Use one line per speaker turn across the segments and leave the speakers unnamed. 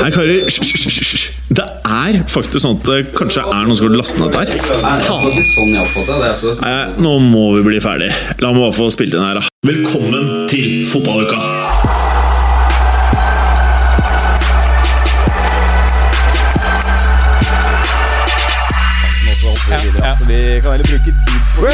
Nei, karer, hysj, hysj, hysj, hysj. Det er faktisk sånn at det kanskje er noen som har lastet ned dette her. Faen.
Sånn jeg oppfatter det. Altså.
Nei, nå må vi bli ferdig. La meg bare få spilt inn her, da. Velkommen til fotballuka!
Vi kan heller bruke tid på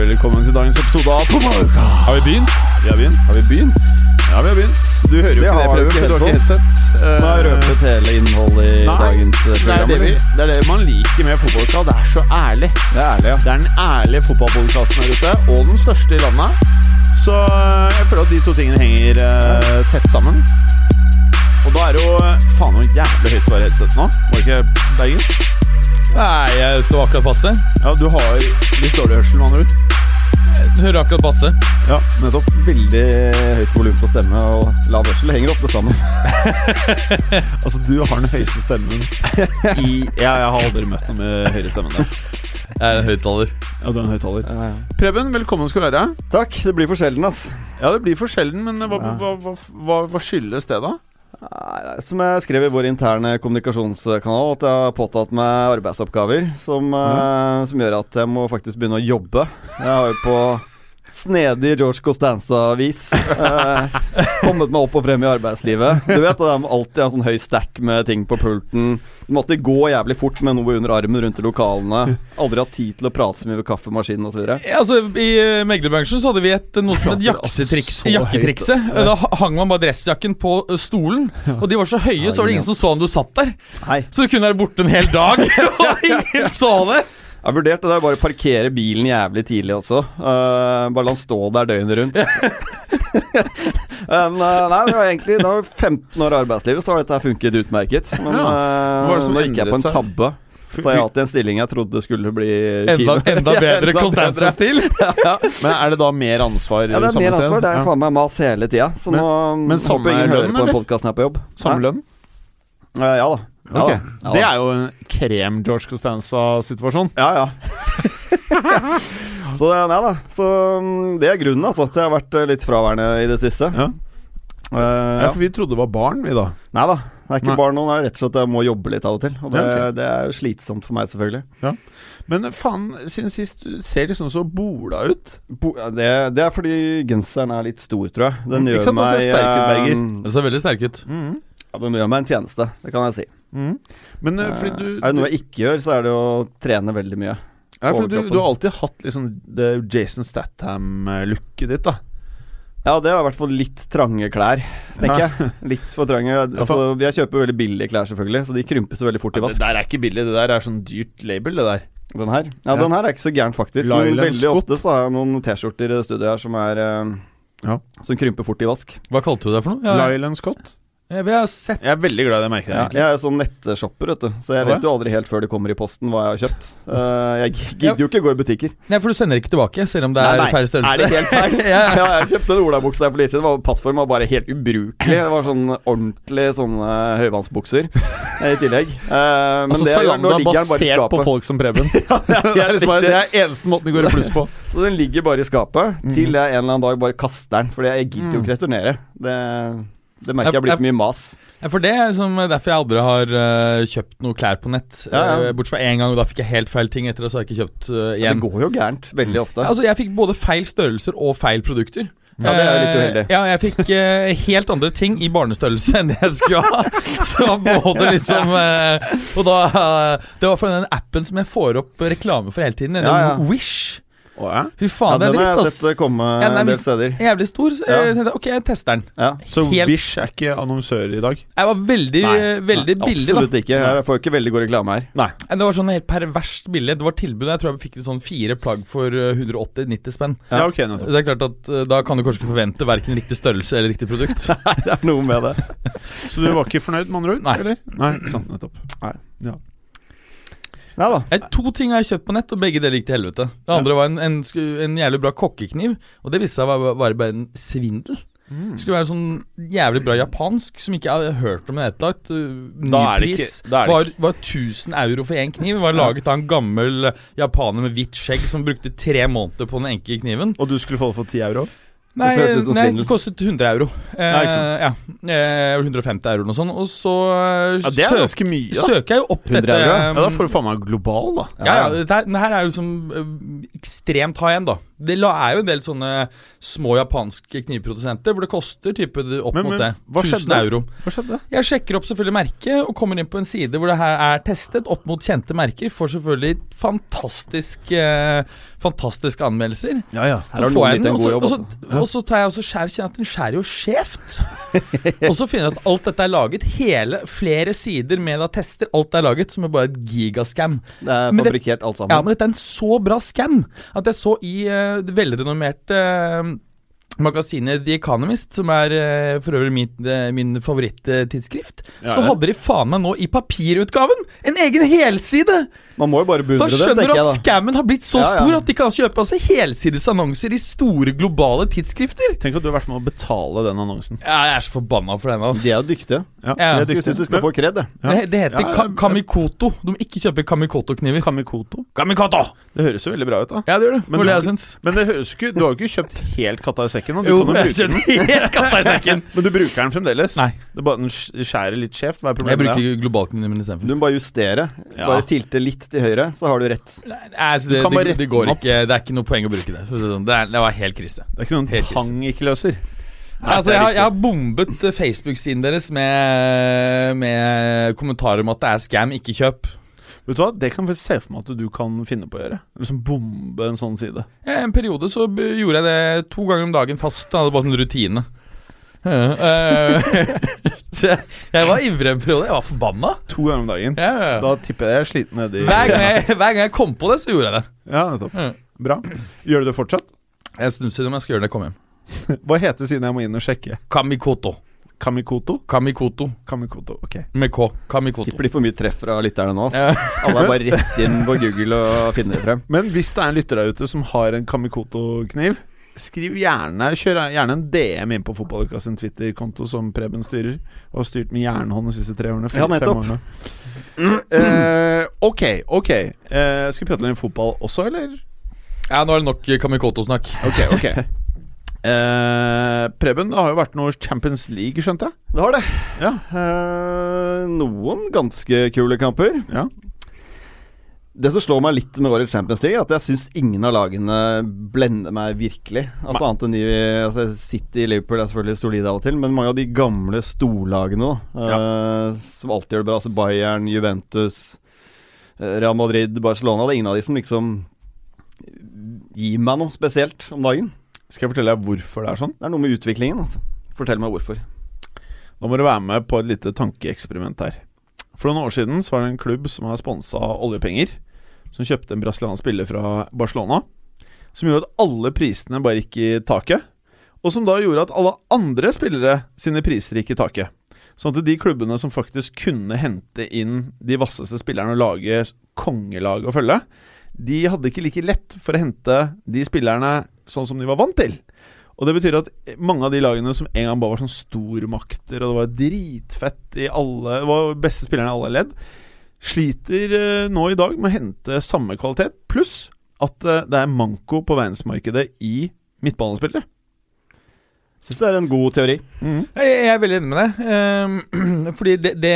Velkommen til dagens episode av Fotballuka! Har vi begynt? Vi har begynt. Har vi begynt? Ja, vi har begynt. Du hører jo
Det
ikke det,
har du
Preben,
ikke
for du har
hørt på.
ikke headset.
Nå har jeg røpet hele innholdet i
Nei,
dagens eh,
det, er
program.
det, vi,
eller?
det er det man liker med fotballuka. Det er så ærlig.
Det er ærlig, ja.
Det er den ærlige fotballpodkasten her ute, og den største i landet. Så eh, jeg føler at de to tingene henger eh, tett sammen. Og da er det jo eh, faen noe jævlig høyt på headset nå. Var det ikke Bergen?
Nei, jeg står akkurat passe.
Ja, du har litt dårlig hørsel, med andre ord.
Hører akkurat passe.
Ja,
Nettopp. Veldig høyt volum på stemme og lav hørsel. Det henger ofte sammen.
Altså, du har den høyeste stemmen i ja, Jeg har aldri møtt noen med høyere stemme enn deg.
Jeg er en høyttaler.
Ja, du er en høyttaler. Preben, velkommen skal du være.
Takk. Det blir for sjelden, ass.
Ja, det blir for sjelden, men hva, hva, hva, hva, hva skyldes det, da?
Nei, nei, Som jeg skrev i vår interne kommunikasjonskanal, at jeg har påtatt meg arbeidsoppgaver som, eh, som gjør at jeg må faktisk begynne å jobbe. Jeg har jo på snedig George Costanza-vis eh, kommet meg opp og frem i arbeidslivet. Du vet at jeg må alltid ha en sånn høy stack med ting på pulten. Du måtte gå jævlig fort med noe under armen rundt i lokalene. Aldri hatt tid til å prate så mye ved kaffemaskinen osv.
Altså, I eh, meglerbransjen så hadde vi et, noe som het
Prater altså
jaksetriks,
så
jakketrikset. Eh, Da ha- hang man bare dressjakken på eh, stolen, og de var så høye, så var det ingen som så om du satt der.
Nei.
Så du kunne være borte en hel dag, og ingen så det.
Jeg vurderte det der, bare parkere bilen jævlig tidlig også. Eh, bare la den stå der døgnet rundt. Men eh, nei, det var egentlig Det var 15 år i arbeidslivet, så har dette her funket utmerket. Men
Ja. Hva er det
eh,
som
nå gikk jeg på en
endret seg?
tabbe. Sa ja til en stilling jeg trodde skulle bli
Enda,
fin.
enda bedre Constanza-stil.
Men Er det da mer ansvar?
Ja, det er
samme
mer
sted?
ansvar. Det er
Ja.
faen meg mas hele tida. Så
Men-
nå
men
men
samme
håper ingen
lønn,
hører på
eller?
den podkasten her på jobb.
Samme lønn?
Hæ? Eh, ja da. Ja,
Ok.
da.
Det
Ja, da.
er jo en krem-George Costanza-situasjon.
Ja, ja. så det- nei da. Så mm, det er grunnen, altså. At jeg har vært eh, litt fraværende i det siste.
Ja.
Eh,
Ja,
ja.
for vi trodde det var barn, vi, da.
Nei da. Det er ikke
Nei.
bare noen, det er rett og slett at jeg må jobbe litt av og til. Og det,
Ja,
det er jo slitsomt for meg, selvfølgelig.
Men eh, faen, siden sist du ser liksom så bola ut.
Bo, ja, det, det er fordi genseren er litt stor, tror jeg. Den
Mm, ikke
gjør,
sant, den
meg,
ser sterk ut, Berger.
eh,
Det ser veldig sterk ut.
Mm-hmm.
ja, den gjør meg en tjeneste, det kan jeg si.
Men eh,
Eh,
fordi du
er det noe jeg ikke gjør, så er det å trene veldig mye.
Ja, for du,
Overkroppen.
du har alltid hatt liksom det Jason Statham-looket ditt, da.
Ja, det er i hvert fall litt trange klær, tenker
Ja.
jeg. Litt for trange. Altså, jeg kjøper veldig billige klær, selvfølgelig, så de krympes jo veldig fort i
Det
vask.
der er ikke billig, det der er sånn dyrt label, det der.
Den her Ja, den her er ikke så gæren, faktisk. Men
Lyle
veldig
Scott.
ofte så har jeg noen T-skjorter i det studioet her som er eh,
Ja.
Som krymper fort i vask.
Hva kalte du det for noe? Jeg,
Lyle Scott.
jeg, jeg har sett
Jeg er veldig glad i det merket.
Ja, jeg
egentlig.
er jo sånn nettshopper, vet du. Så jeg
Hva?
vet jo aldri helt før det kommer i posten hva jeg har kjøpt. Eh, jeg gidder jo ikke gå i butikker.
Nei, for du sender ikke tilbake, selv om det er
Er
færre
det
størrelse.
helt feil? ja, jeg kjøpte en olabukse her for litt siden. Var- Passformen var bare helt ubrukelig. Det var sånn ordentlig sånne høyvannsbukser eh, i tillegg. Eh, men
Altså
det, nå
Salanda
ligger den bare i
basert på
skapet.
folk som Preben. det, er liksom, bare- det er eneste måten det går i pluss på.
Så den ligger bare i skapet til jeg en eller annen dag bare kaster den. Fordi jeg gidder jo ikke returnere. Det, det merker jeg
Jeg-
blir for mye mas.
Ja, for det er liksom derfor jeg aldri har eh, kjøpt noe klær på nett.
Ja, ja.
Eh, bortsett fra én gang, og da fikk jeg helt feil ting. Etter det så har jeg ikke kjøpt eh,
Det
igjen.
går jo gærent veldig ofte.
Altså, jeg fikk både feil størrelser og feil produkter.
Ja, det er jo litt
Eh,
uheldig.
ja, jeg fikk eh, helt andre ting i barnestørrelse enn jeg skulle ha. Så både liksom eh, Og da eh, Det var fra den appen som jeg får opp reklame for hele tiden. Den
Ja, ja.
Wish.
Å, ja.
Fy
Ja,
faen, det
den
er
har
dritt,
jeg
ass.
sett eh, komme
Ja, nei,
en del
hvis-
steder.
Jævlig stor. Så
Ja.
jeg tenkte ok, jeg tester den.
Ja.
Så
Helt-
Wish er ikke annonsører i dag?
Jeg var veldig, eh,
Nei,
veldig billig, da.
Absolutt ikke. Jeg får jo ikke veldig god reklame her.
Nei.
Nei, Det var sånn helt perverst billig. Det var tilbud. Jeg tror jeg fikk sånn fire plagg for eh, 180-90 spenn.
Ja, ok, nettopp.
Så det er klart at eh, Da kan du kanskje ikke forvente verken riktig størrelse eller riktig produkt.
Det er noe med det.
Så du var ikke fornøyd, med andre ord?
Nei.
Eller? Nei, ikke sant, nettopp.
Nei da.
Eh, to ting har jeg kjøpt på nett, og begge deler gikk til helvete. Det andre var en, en, sku- en jævlig bra kokkekniv, og det viste seg å være- være bare en svindel.
Mm.
Det skulle være sånn jævlig bra japansk som ikke jeg hadde hørt om i det hele tatt. Uh,
Da er det
Nypris
ikke- da er det
var, var 1000 euro for én kniv. Var laget av en gammel japaner med hvitt skjegg som brukte tre måneder på den enkle kniven.
Og du skulle få det for ti euro?
Nei,
Dette høres ut som
nei,
svindel.
det kostet 100 euro. Eh,
Ja, ikke
ja, eh, 150 euro eller noe sånt. Og så eh,
Ja, det er
søk-
ganske mye, da. um,
søker jeg jo opp
100
dette.
euro?
eh,
Ja, Da får du faen meg global, da.
Ja, ja, dette her, denne her er jo liksom eh, ekstremt high end, da. Det la- er jo en del sånne små japanske knivprodusenter hvor det koster type det- opp
Men- men,
mot det.
hva skjedde?
1000 euro.
Hva skjedde?
Jeg sjekker opp selvfølgelig merket og kommer inn på en side hvor det her er testet opp mot kjente merker. Får selvfølgelig fantastisk, eh, fantastiske anmeldelser.
Ja, ja.
Her har
Så får
noen
jeg
gitt
den,
en
og
god
så-
jobb,
og så- Og så tar jeg også skjær, kjenner at den skjærer jo skjevt. og så finner jeg at alt dette er laget. Hele, flere sider med da tester. Alt er laget som er bare et gigascam.
Det er
Men det-
fabrikkert alt sammen.
Ja, men dette er en så bra scam at jeg så i eh, det velrenommerte eh, magasinet The Economist, som er eh, for øvrig min, uh, min favoritttidsskrift,
Ja,
så
ja.
hadde de faen meg nå i papirutgaven en egen helside!
Man må jo bare
Da
beundre det,
skjønner du
tenker jeg
at
da.
scammen har blitt så
Ja, ja.
stor at de kan kjøpe altså helsides annonser i store globale tidsskrifter!
Tenk at du har vært med å betale den annonsen.
Ja, jeg er så forbanna for denne,
De
altså.
er jo dyktige.
Ja,
Ja.
det er
Jeg
dyktig.
syns du skal få kred, jeg.
Ja.
Det, det heter
Ja, ja,
ka
ja.
Kamikoto. Du må ikke kjøpe Kamikoto-kniver.
Kamikoto.
Kamikoto!
Det høres jo veldig bra ut, da.
Ja, det gjør det.
Men
Hva er det
du-
jeg syns?
Men det høres ikke, du har jo ikke kjøpt helt katta i sekken. og Du
Jo,
kan jo
jeg
bruke den.
kjøper helt katta i sekken.
Men du bruker den fremdeles?
Nei.
Det er bare Den sk- skjærer litt skjevt? Hva er
Jeg
problemet med det?
bruker globalkniven min istedenfor.
Du må bare justere.
Ja.
Bare tilte litt til høyre, så har du rett.
Nei, altså, det,
Du kan bare
det, det
rette
går
den opp.
ikke. Det er ikke noe poeng å bruke det. Så Det er sånn, det er- det var helt krise.
Det er ikke noen
Helt krise.
tang ikke løser.
Altså, jeg, har, jeg har bombet eh, Facebook-siden deres med, med kommentarer om at det er scam, ikke kjøp.
Vet du hva, Det kan jeg faktisk se for meg at du kan finne på å gjøre. Liksom bombe en sånn side.
Eh, En periode så b- gjorde jeg det to ganger om dagen fast. Da. Det var sånn rutine. Eh, eh, så jeg, jeg var ivrig en periode. Jeg var forbanna.
To ganger om dagen.
Ja, ja, ja.
Da tipper jeg jeg er sliten nedi
Hver gang, jeg, hver gang jeg kom på det, så gjorde jeg det.
Ja, nettopp.
Ja.
Bra. Gjør du det fortsatt?
Jeg snuser om jeg skal gjøre det når jeg kommer hjem.
Hva heter siden jeg må inn og sjekke?
Kamikoto.
Kamikoto?
Kamikoto
Kamikoto, ok.
med K. Kamikoto.
Tipper de får mye treff fra lytterne nå. ass.
Ja.
Alle er bare rett inn på Google og finner det frem.
Men hvis det er en lytter der ute som har en Kamikoto-kniv, skriv gjerne Kjør gjerne en DM inn på Fotballuka sin Twitter-konto, som Preben styrer, og har styrt med jernhånd de siste tre årene.
Ja, nettopp.
fem årene. Eh, ok, ok. Eh, skal vi prate litt om fotball også, eller?
Ja, nå er det nok eh, Kamikoto-snakk.
Ok, ok. Eh, Preben, det har jo vært noe Champions League, skjønte jeg?
Det har det.
Ja.
Eh, noen ganske kule kamper.
Ja.
Det som slår meg litt med årets Champions League, er at jeg syns ingen av lagene blender meg virkelig. Altså annet enn de altså City Liverpool er selvfølgelig solide av og til, men mange av de gamle storlagene òg, som alltid gjør det bra. Altså Bayern, Juventus, eh, Real Madrid, Barcelona. Det er ingen av de som liksom gir meg noe spesielt om dagen.
Skal jeg fortelle deg hvorfor det er sånn?
Det er noe med utviklingen, altså. Fortell meg hvorfor.
Nå må du være med på et lite tankeeksperiment her. For noen år siden så var det en klubb som har sponsa oljepenger, som kjøpte en brasiliansk spiller fra Barcelona. Som gjorde at alle prisene bare gikk i taket. Og som da gjorde at alle andre spillere sine priser gikk i taket. Sånn at de klubbene som faktisk kunne hente inn de vasseste spillerne og lage kongelag og følge, de hadde ikke like lett for å hente de spillerne sånn som de var vant til. Og det betyr at mange av de lagene som en gang bare var sånn stormakter, og det var dritfett i alle Det var beste spillerne i alle ledd, sliter eh, nå i dag med å hente samme kvalitet, pluss at eh, det er manko på verdensmarkedet i midtbanespillere.
Syns det er en god teori.
Jeg, jeg er veldig enig med deg. ehm, fordi det, det,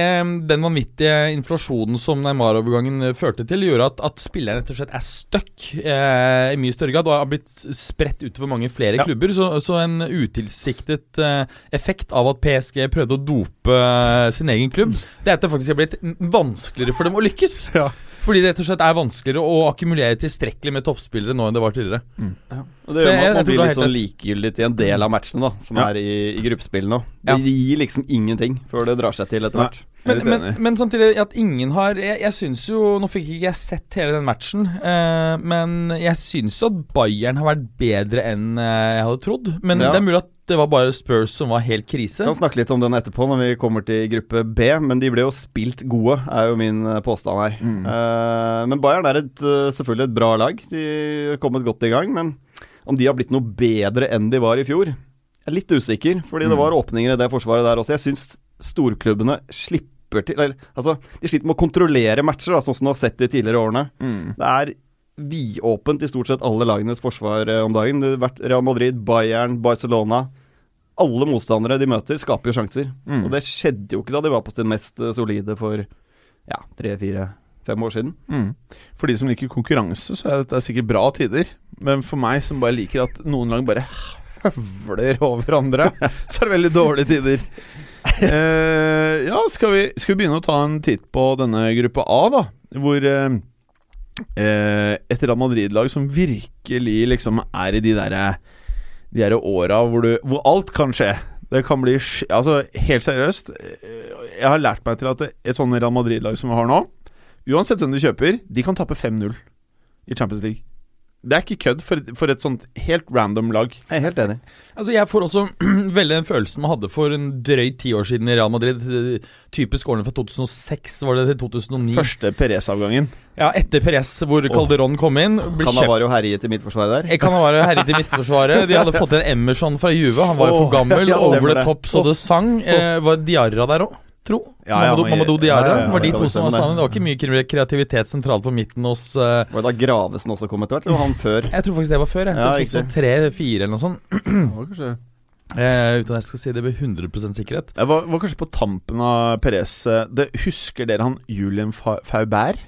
den vanvittige inflasjonen som Neymar-overgangen eh, førte til, gjorde at, at spilleren rett og slett er stuck eh, i mye større grad og har blitt spredt utover mange flere
Ja.
klubber. Så, så en utilsiktet eh, effekt av at PSG prøvde å dope eh, sin egen klubb, det er at det faktisk er blitt m- vanskeligere for dem å lykkes.
Ja.
Fordi det rett og slett er vanskeligere å akkumulere tilstrekkelig med toppspillere nå enn det var tidligere.
Og det gjør
Så jeg-
at
jeg
man
tror
blir
du har
litt sånn
helt
likegyldig til en del av matchene da som
Ja.
er i, i gruppespillene. også.
Ja.
Det gir liksom ingenting før det drar seg til etter
Nei.
hvert.
Jeg er
Men,
litt
men,
enig.
men samtidig at ingen har Jeg, jeg syns jo Nå fikk ikke jeg sett hele den matchen, eh, men jeg syns jo at Bayern har vært bedre enn eh, jeg hadde trodd. Men
Ja.
det er mulig at det var bare Spurs som var helt krise.
Vi kan snakke litt om den etterpå når vi kommer til gruppe B, men de ble jo spilt gode, er jo min eh, påstand her.
Mm.
Eh, men Bayern er et, eh, selvfølgelig et bra lag. De har kommet godt i gang, men om de har blitt noe bedre enn de var i fjor, jeg er litt usikker. Fordi
Mm.
det var åpninger i det forsvaret der også. Jeg syns storklubbene slipper til eller, Altså, de sliter med å kontrollere matcher, da, sånn som du har sett de tidligere årene. Det er vidåpent i stort sett alle lagenes forsvar eh, om dagen. Det har vært Real Madrid, Bayern, Barcelona. Alle motstandere de møter, skaper jo sjanser.
Mm.
Og det skjedde jo ikke da de var på sitt mest eh, solide for ja, tre, fire, fem år siden.
Mm. For de som liker konkurranse, så er dette sikkert bra tider. Men for meg som bare liker at noen lag bare høvler over andre, så er det veldig dårlige tider. Eh, ja, skal vi, skal vi begynne å ta en titt på denne gruppa A, da? Hvor eh, eh, et Real Madrid-lag som virkelig liksom er i de derre de derre åra hvor, du- hvor alt kan skje. Det kan bli sj- Altså, helt seriøst. eh, Jeg har lært meg til at et sånn Real Madrid-lag som vi har nå, uansett hvem de kjøper, de kan tape 5-0 i Champions League. Det er ikke kødd for, for et sånt helt random lag.
Jeg er helt enig.
Altså Jeg får også veldig den følelsen man hadde for en drøy ti år siden i Real Madrid. Typisk årene fra 2006 var det til 2009.
Første Perez-avgangen.
Ja, Etter Perez, hvor Calderón kom inn. Ble
Kan
kjøpt
ha vært jo herjet i midtforsvaret der.
Jeg kan ha vært herret i midtforsvaret. De hadde fått en Emerson fra Juve. Han var jo for
Åh,
gammel.
ja, stemmer
over
det.
the top så det sang. Eh, var Diarra der òg, tro?
Ja, ja,
Mamadou-
han-
Mamadou Diarra.
ja, ja, ja,
var de
det
to
kan
som var
stemme.
sammen. Det var ikke mye kre- kreativitet sentralt på midten hos eh,
Var det da Gravesen også kom etter hvert? Eller var han før?
Jeg tror faktisk det var før. jeg.
Ja, riktig.
2003-2004 eller noe sånt.
Jeg
Eh, uten at jeg skal si det med 100 sikkerhet.
var, var kanskje på tampen av Perez. eh, Det, husker dere han Julian Fa Faubert?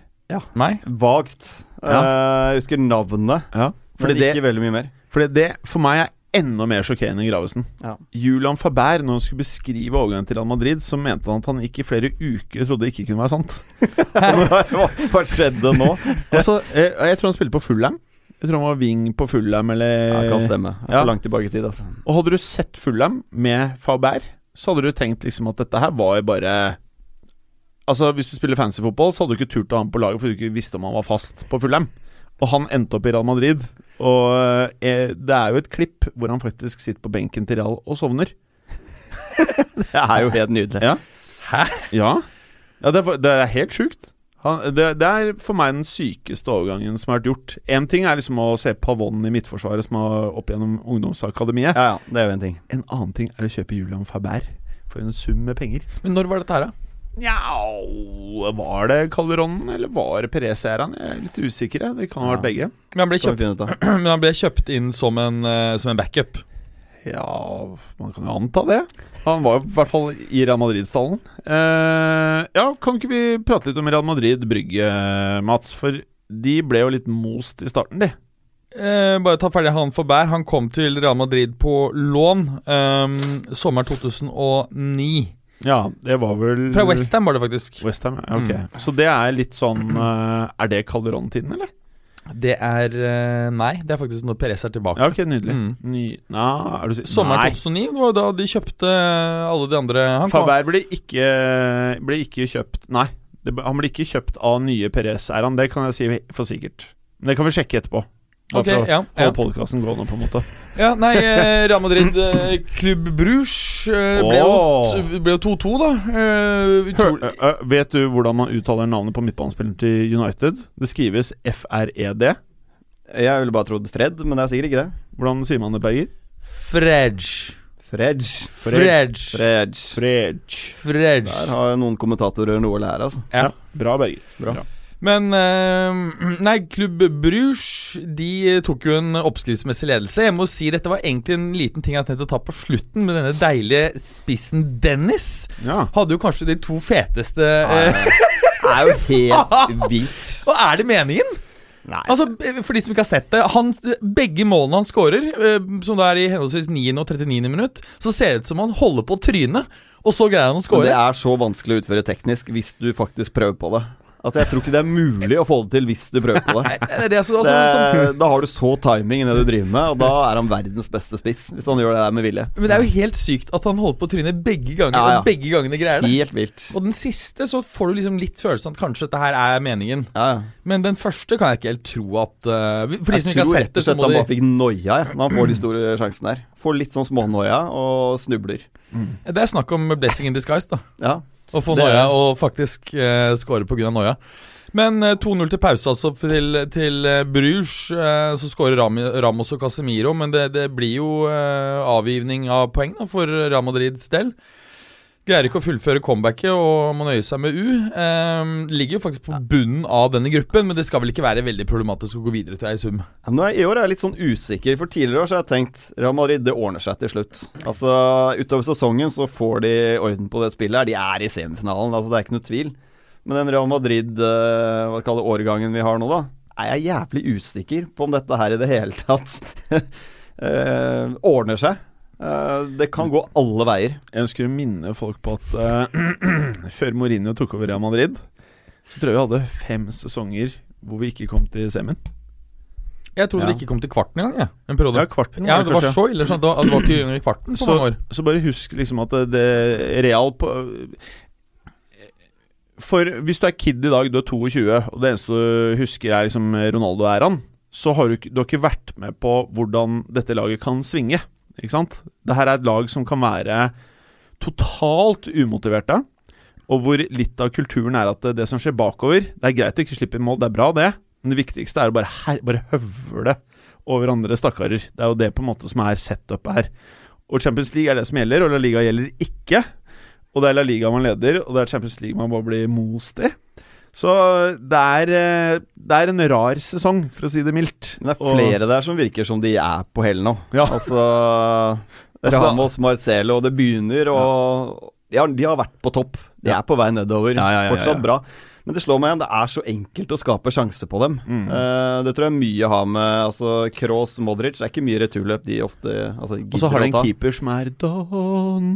Nei?
Vagt. Eh, jeg husker navnet,
Ja. Fordi
men
det,
ikke veldig mye mer.
fordi det for meg er enda mer sjokkerende enn Gravesen.
Ja.
Julian Faubert, når han skulle beskrive overgangen til Real Madrid, så mente han at han gikk i flere uker trodde det ikke kunne være sant.
Hva, hva skjedde nå?
Altså, eh, jeg tror han spilte på Fullham. Jeg tror han var wing på Fullham
Ja,
eller
kan stemme. Jeg er
Ja.
For langt tilbake i tid, altså.
Og hadde du sett Fulham med Faubert, så hadde du tenkt liksom at dette her var jo bare Altså, hvis du spiller fancy fotball, så hadde du ikke turt å ha ham på laget fordi du ikke visste om han var fast på Fulham. Og han endte opp i Real Madrid. Og eh, det er jo et klipp hvor han faktisk sitter på benken til Real og sovner.
Det er jo helt nydelig.
Ja, ja det, er, for- det er helt sjukt. Han, det, det er for meg den sykeste overgangen som har vært gjort. Én ting er liksom å se Pavon i Midtforsvaret, som har opp gjennom ungdomsakademiet.
Ja, ja, det er jo en ting.
En annen ting er å kjøpe Julian Faubert for en sum med penger.
Men når var dette her, da?
Nja Var det Calderon eller var det Perez Eran? Jeg er litt usikker. jeg. Det kan ha vært begge.
Men han ble
Skal vi
kjøpt,
finne ut av.
men han ble kjøpt inn som en, eh, som en backup.
Ja, man kan jo anta det. Han var i hvert fall i Real Madrid-stallen. Eh, ja, kan ikke vi prate litt om Real Madrid Brygge, Mats? For de ble jo litt most i starten, de.
Eh, bare ta ferdig han for bær. Han kom til Real Madrid på lån um, sommeren 2009.
Ja, det var vel
Fra Mm. Westham var det faktisk.
Westham, ja, ok. Så det er litt sånn eh, Er det Calderon-tiden, eller?
Det er eh, Nei, det er faktisk når Perez er tilbake.
Ja, ok, nydelig.
Mm.
Ny... Nei, er du sikker?
Sommeren 2009 det var da de kjøpte eh, alle de andre han kom.
Faber ble ikke, ble ikke kjøpt Nei, det, ble- han ble ikke kjøpt av nye Perez, er han? Det kan jeg si for sikkert. Men det kan vi sjekke etterpå. Bare
Ok,
for å
ja, ja.
holde podkasten gående, på en måte.
ja, nei, eh, Real Madrid eh, Club Bruges eh, ble
Åh.
jo- ble jo 2-2, da. Eh,
Hør,
to-
ø, ø, vet du hvordan man uttaler navnet på midtbanespilleren til United? Det skrives E FRED.
Jeg ville bare trodd Fred, men det er sikkert ikke det.
Hvordan sier man det, Berger?
Fredge.
Fredge.
Fredge.
Fredge.
Fredge.
Der
Fredge.
har jo noen kommentatorer noe å lære, altså.
Ja.
Bra, Berger.
Men eh, Nei, Klubb Bruges De tok jo en oppskriftsmessig ledelse. Jeg må si Dette var egentlig en liten ting jeg tenkte å ta på slutten, med denne deilige spissen Dennis.
Ja.
Hadde jo kanskje de to feteste eh,
Det er jo helt vilt.
Og er det meningen?
Nei.
Altså, eh, For de som ikke har sett det han, Begge målene han skårer, eh, som da er i henholdsvis 9. og 39. minutt, så ser det ut som han holder på å tryne, og så greier han å
Men det
skåre.
er så vanskelig å utføre teknisk hvis du faktisk prøver på det. Altså, jeg tror ikke det er mulig å få det til hvis du prøver på det.
Nei, det er det som- altså,
det
som-
da har du så timing i det du driver med, og da er han verdens beste spiss. Hvis han gjør det der med vilje.
Men det er jo helt sykt at han holder på å tryne begge ganger,
Ja, ja.
og begge gangene greier det.
Helt vilt.
Og den siste så får du liksom litt følelsen at kanskje dette her er meningen.
Ja, ja.
Men den første kan jeg ikke helt tro at eh, For de som
Jeg
ikke har
tror
sett
rett
det,
og
så
slett
må
han
de
bare fikk noia ja, når han får de store sjansene her. Får litt sånn smånoia og snubler.
Det er snakk om blessing in disguise, da.
Ja.
Å få
Det er
noia
det.
og faktisk uh, score pga. noia. Men eh, 2-0 til pause, altså, til, til eh, Bruges. eh, så skårer Ram Ramos og Casemiro, men det, det blir jo eh, avgivning av poeng da, for Real Madrids del. Greier ikke å fullføre comebacket og må nøye seg med U. Ehm, ligger jo faktisk på bunnen av denne gruppen, men det skal vel ikke være veldig problematisk å gå videre til ei sum.
Ja, men nå er, I år er jeg litt sånn usikker, for tidligere år så har jeg tenkt Real Madrid, det ordner seg til slutt. Altså, Utover sesongen så får de orden på det spillet her. De er i semifinalen, altså det er ikke noe tvil. Men den Real Madrid, eh, hva kaller årgangen vi har nå, da, er jeg jævlig usikker på om dette her i det hele tatt eh, ordner seg. Eh, det kan gå alle veier.
Jeg ønsker å minne folk på at eh, før Mourinho tok over Real Madrid, så tror jeg vi hadde fem sesonger hvor vi ikke kom til semien.
Jeg trodde
Ja.
det ikke kom til kvarten engang, jeg. En periode.
Ja, kvarten.
Ja,
var det
det var
kanskje.
så ille. Sånn, at det var- altså, det var ikke under kvarten på
så,
mange år.
så bare husk liksom at det, det Real på For hvis du er kid i dag, du er 22, og det eneste du husker er liksom Ronaldo-æraen, så har du, ikke- du har ikke vært med på hvordan dette laget kan svinge. Ikke sant? Det her er et lag som kan være totalt umotiverte, og hvor litt av kulturen er at det, det som skjer bakover Det er greit å ikke slippe inn mål, det er bra, det, men det viktigste er å bare, her, bare høvle over andre stakkarer. Det er jo det på en måte som er setupet her. Og Champions League er det som gjelder, og La Liga gjelder ikke. Og det er La Liga man leder, og det er Champions League man bare blir most i. Så det er, eh, det er en rar sesong, for å si det mildt.
Men det
Og-
er flere der som virker som de er på hell nå.
Ja.
Altså Ramos, Marcelo, det begynner å de, har, de har vært på topp. De er på vei nedover.
Ja, ja, ja, ja, ja.
Fortsatt bra. Men det slår meg igjen, det er så enkelt å skape sjanse på dem.
Mm.
Eh, det tror jeg mye har med altså, Kroos, Modric. Det er ikke mye returløp de ofte altså,
Og så har de
gidder å
en
ta.
keeper som er don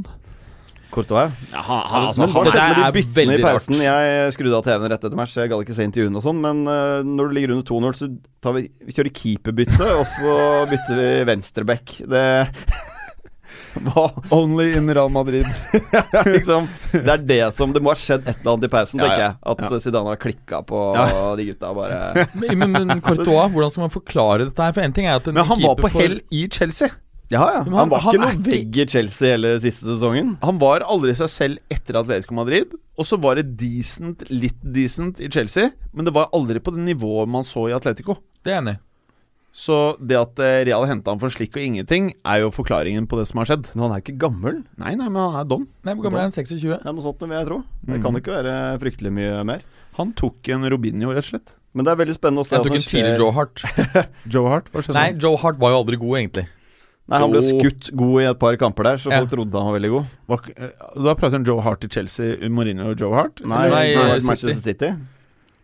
Courtois.
ja, altså,
men hva
han-
skjedde med de
det er
byttene i
veldig rart.
pausen? Jeg skrudde av TV-en rett etter match, jeg gadd ikke se intervjuene og sånn, men eh, når du ligger under 2-0, så tar vi, vi kjører keeperbytte, og så bytter vi venstreback. Det Hva
Only in Real Madrid.
liksom Det er det som Det må ha skjedd et eller annet i pausen,
Ja,
tenker
ja.
jeg. At
Ja.
Zidane har klikka på
Ja.
de gutta og bare
Men, men, men Courtois, hvordan skal man forklare dette her? For en ting er at en
Men han var
keeper
på
får-
hell i Chelsea.
Ja, ja. Han,
Men han-
var
han
ikke
er
noe vegg i Chelsea hele siste sesongen.
Han var aldri seg selv etter Atletico Madrid. Og så var det decent, litt decent i Chelsea, men det var aldri på det nivået man så i Atletico.
Det er jeg enig i.
Så det at eh, Real henta han for slikk og ingenting, er jo forklaringen på det som har skjedd.
Men han er jo ikke gammel.
Nei, nei, men han er don.
Nei, Hvor gammel er han? 26?
Det er noe sånt, vil jeg tro. Det
Mm.
kan ikke være fryktelig mye mer.
Han tok en Robinho, rett og slett.
Men det er veldig spennende å se
Jeg tok en
altså,
tidlig Joe Hart.
Joe Hart, hva skjedde?
Nei, Joe Hart var jo aldri god, egentlig.
Nei, han ble
Jo.
skutt god i et par kamper der, så
Ja.
folk trodde han var veldig god.
Var ikke- eh, da prater vi om Joe Hart i Chelsea, Mourinho og Joe Hart.
Nei,
Nei,
han var
City.
i Manchester City.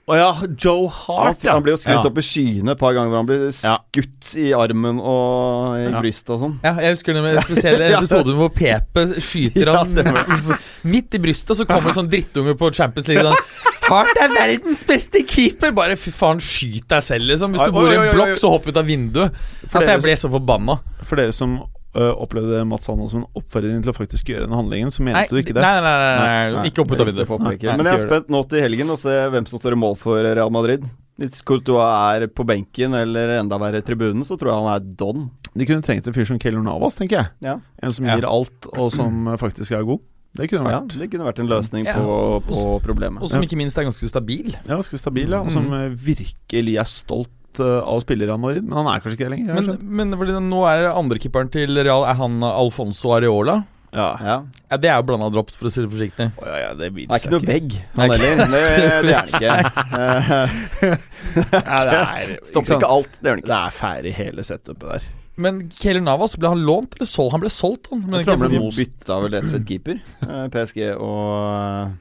Å ja, Joe
Han,
Ah,
Hart, ja.
han ble jo skutt
Ja.
opp i skyene et par ganger. hvor Han ble
Ja.
skutt i armen og i
Ja.
brystet og sånn.
Ja, jeg husker den spesielle episoden hvor Pepe skyter
Ja,
han midt i brystet, og så kommer det sånn drittunge på Champions League sånn Hart er verdens beste keeper! Bare fy faen, skyt deg selv, liksom. Hvis
Oi,
du bor i
oi, oi,
en
oi.
blokk, så hopp ut av vinduet. Altså,
dere-
jeg ble så forbanna.
For dere som ø, opplevde Mats Hanna som en oppfordring til å faktisk gjøre den handlingen, så mente
Nei,
du
nei,
ikke det?
nei, nei, nei,
Nei,
nei. Ikke hopp ut av
det
vinduet.
håper jeg ikke. Men
Nei,
jeg er
ikke gjør
spent nå til helgen og se hvem som står i mål for Real Madrid. Hvis Courtois er på benken eller enda verre tribunen, så tror jeg han er don.
De kunne trengt en fyr som Keylor Navas, tenker jeg.
Ja.
En som
Ja.
gir alt, og som ø, faktisk er god. Det kunne
ja,
vært.
Det kunne vært en løsning
Ja.
på, på problemet.
Og som ikke minst er ganske stabil.
Ja, Ganske stabil, ja. Og som ø,
Mm.
virkelig er stolt ø, av å spille i Real Madrid. Men han er kanskje ikke det lenger. jeg
Men,
skjønner.
men fordi nå er andrekeeperen til Real Er han eh, Alfonso Areola.
ja.
Ja.
Ja, det er jo blanda drops, for å si det forsiktig.
Å, ja, ja, det vil
Det er ikke
seg
noe vegg, han heller. Det, det er han ikke. Eh,
Ja, det er, ikke
Stopper
sant?
ikke alt, det gjør han ikke.
Det er ferdig hele setupet der.
Men Keylor Navas, ble han lånt eller solgt? Han ble solgt, han. Men
Jeg tror han ble
ikke-
De
most.
bytta vel rett og slett keeper, eh, PSG og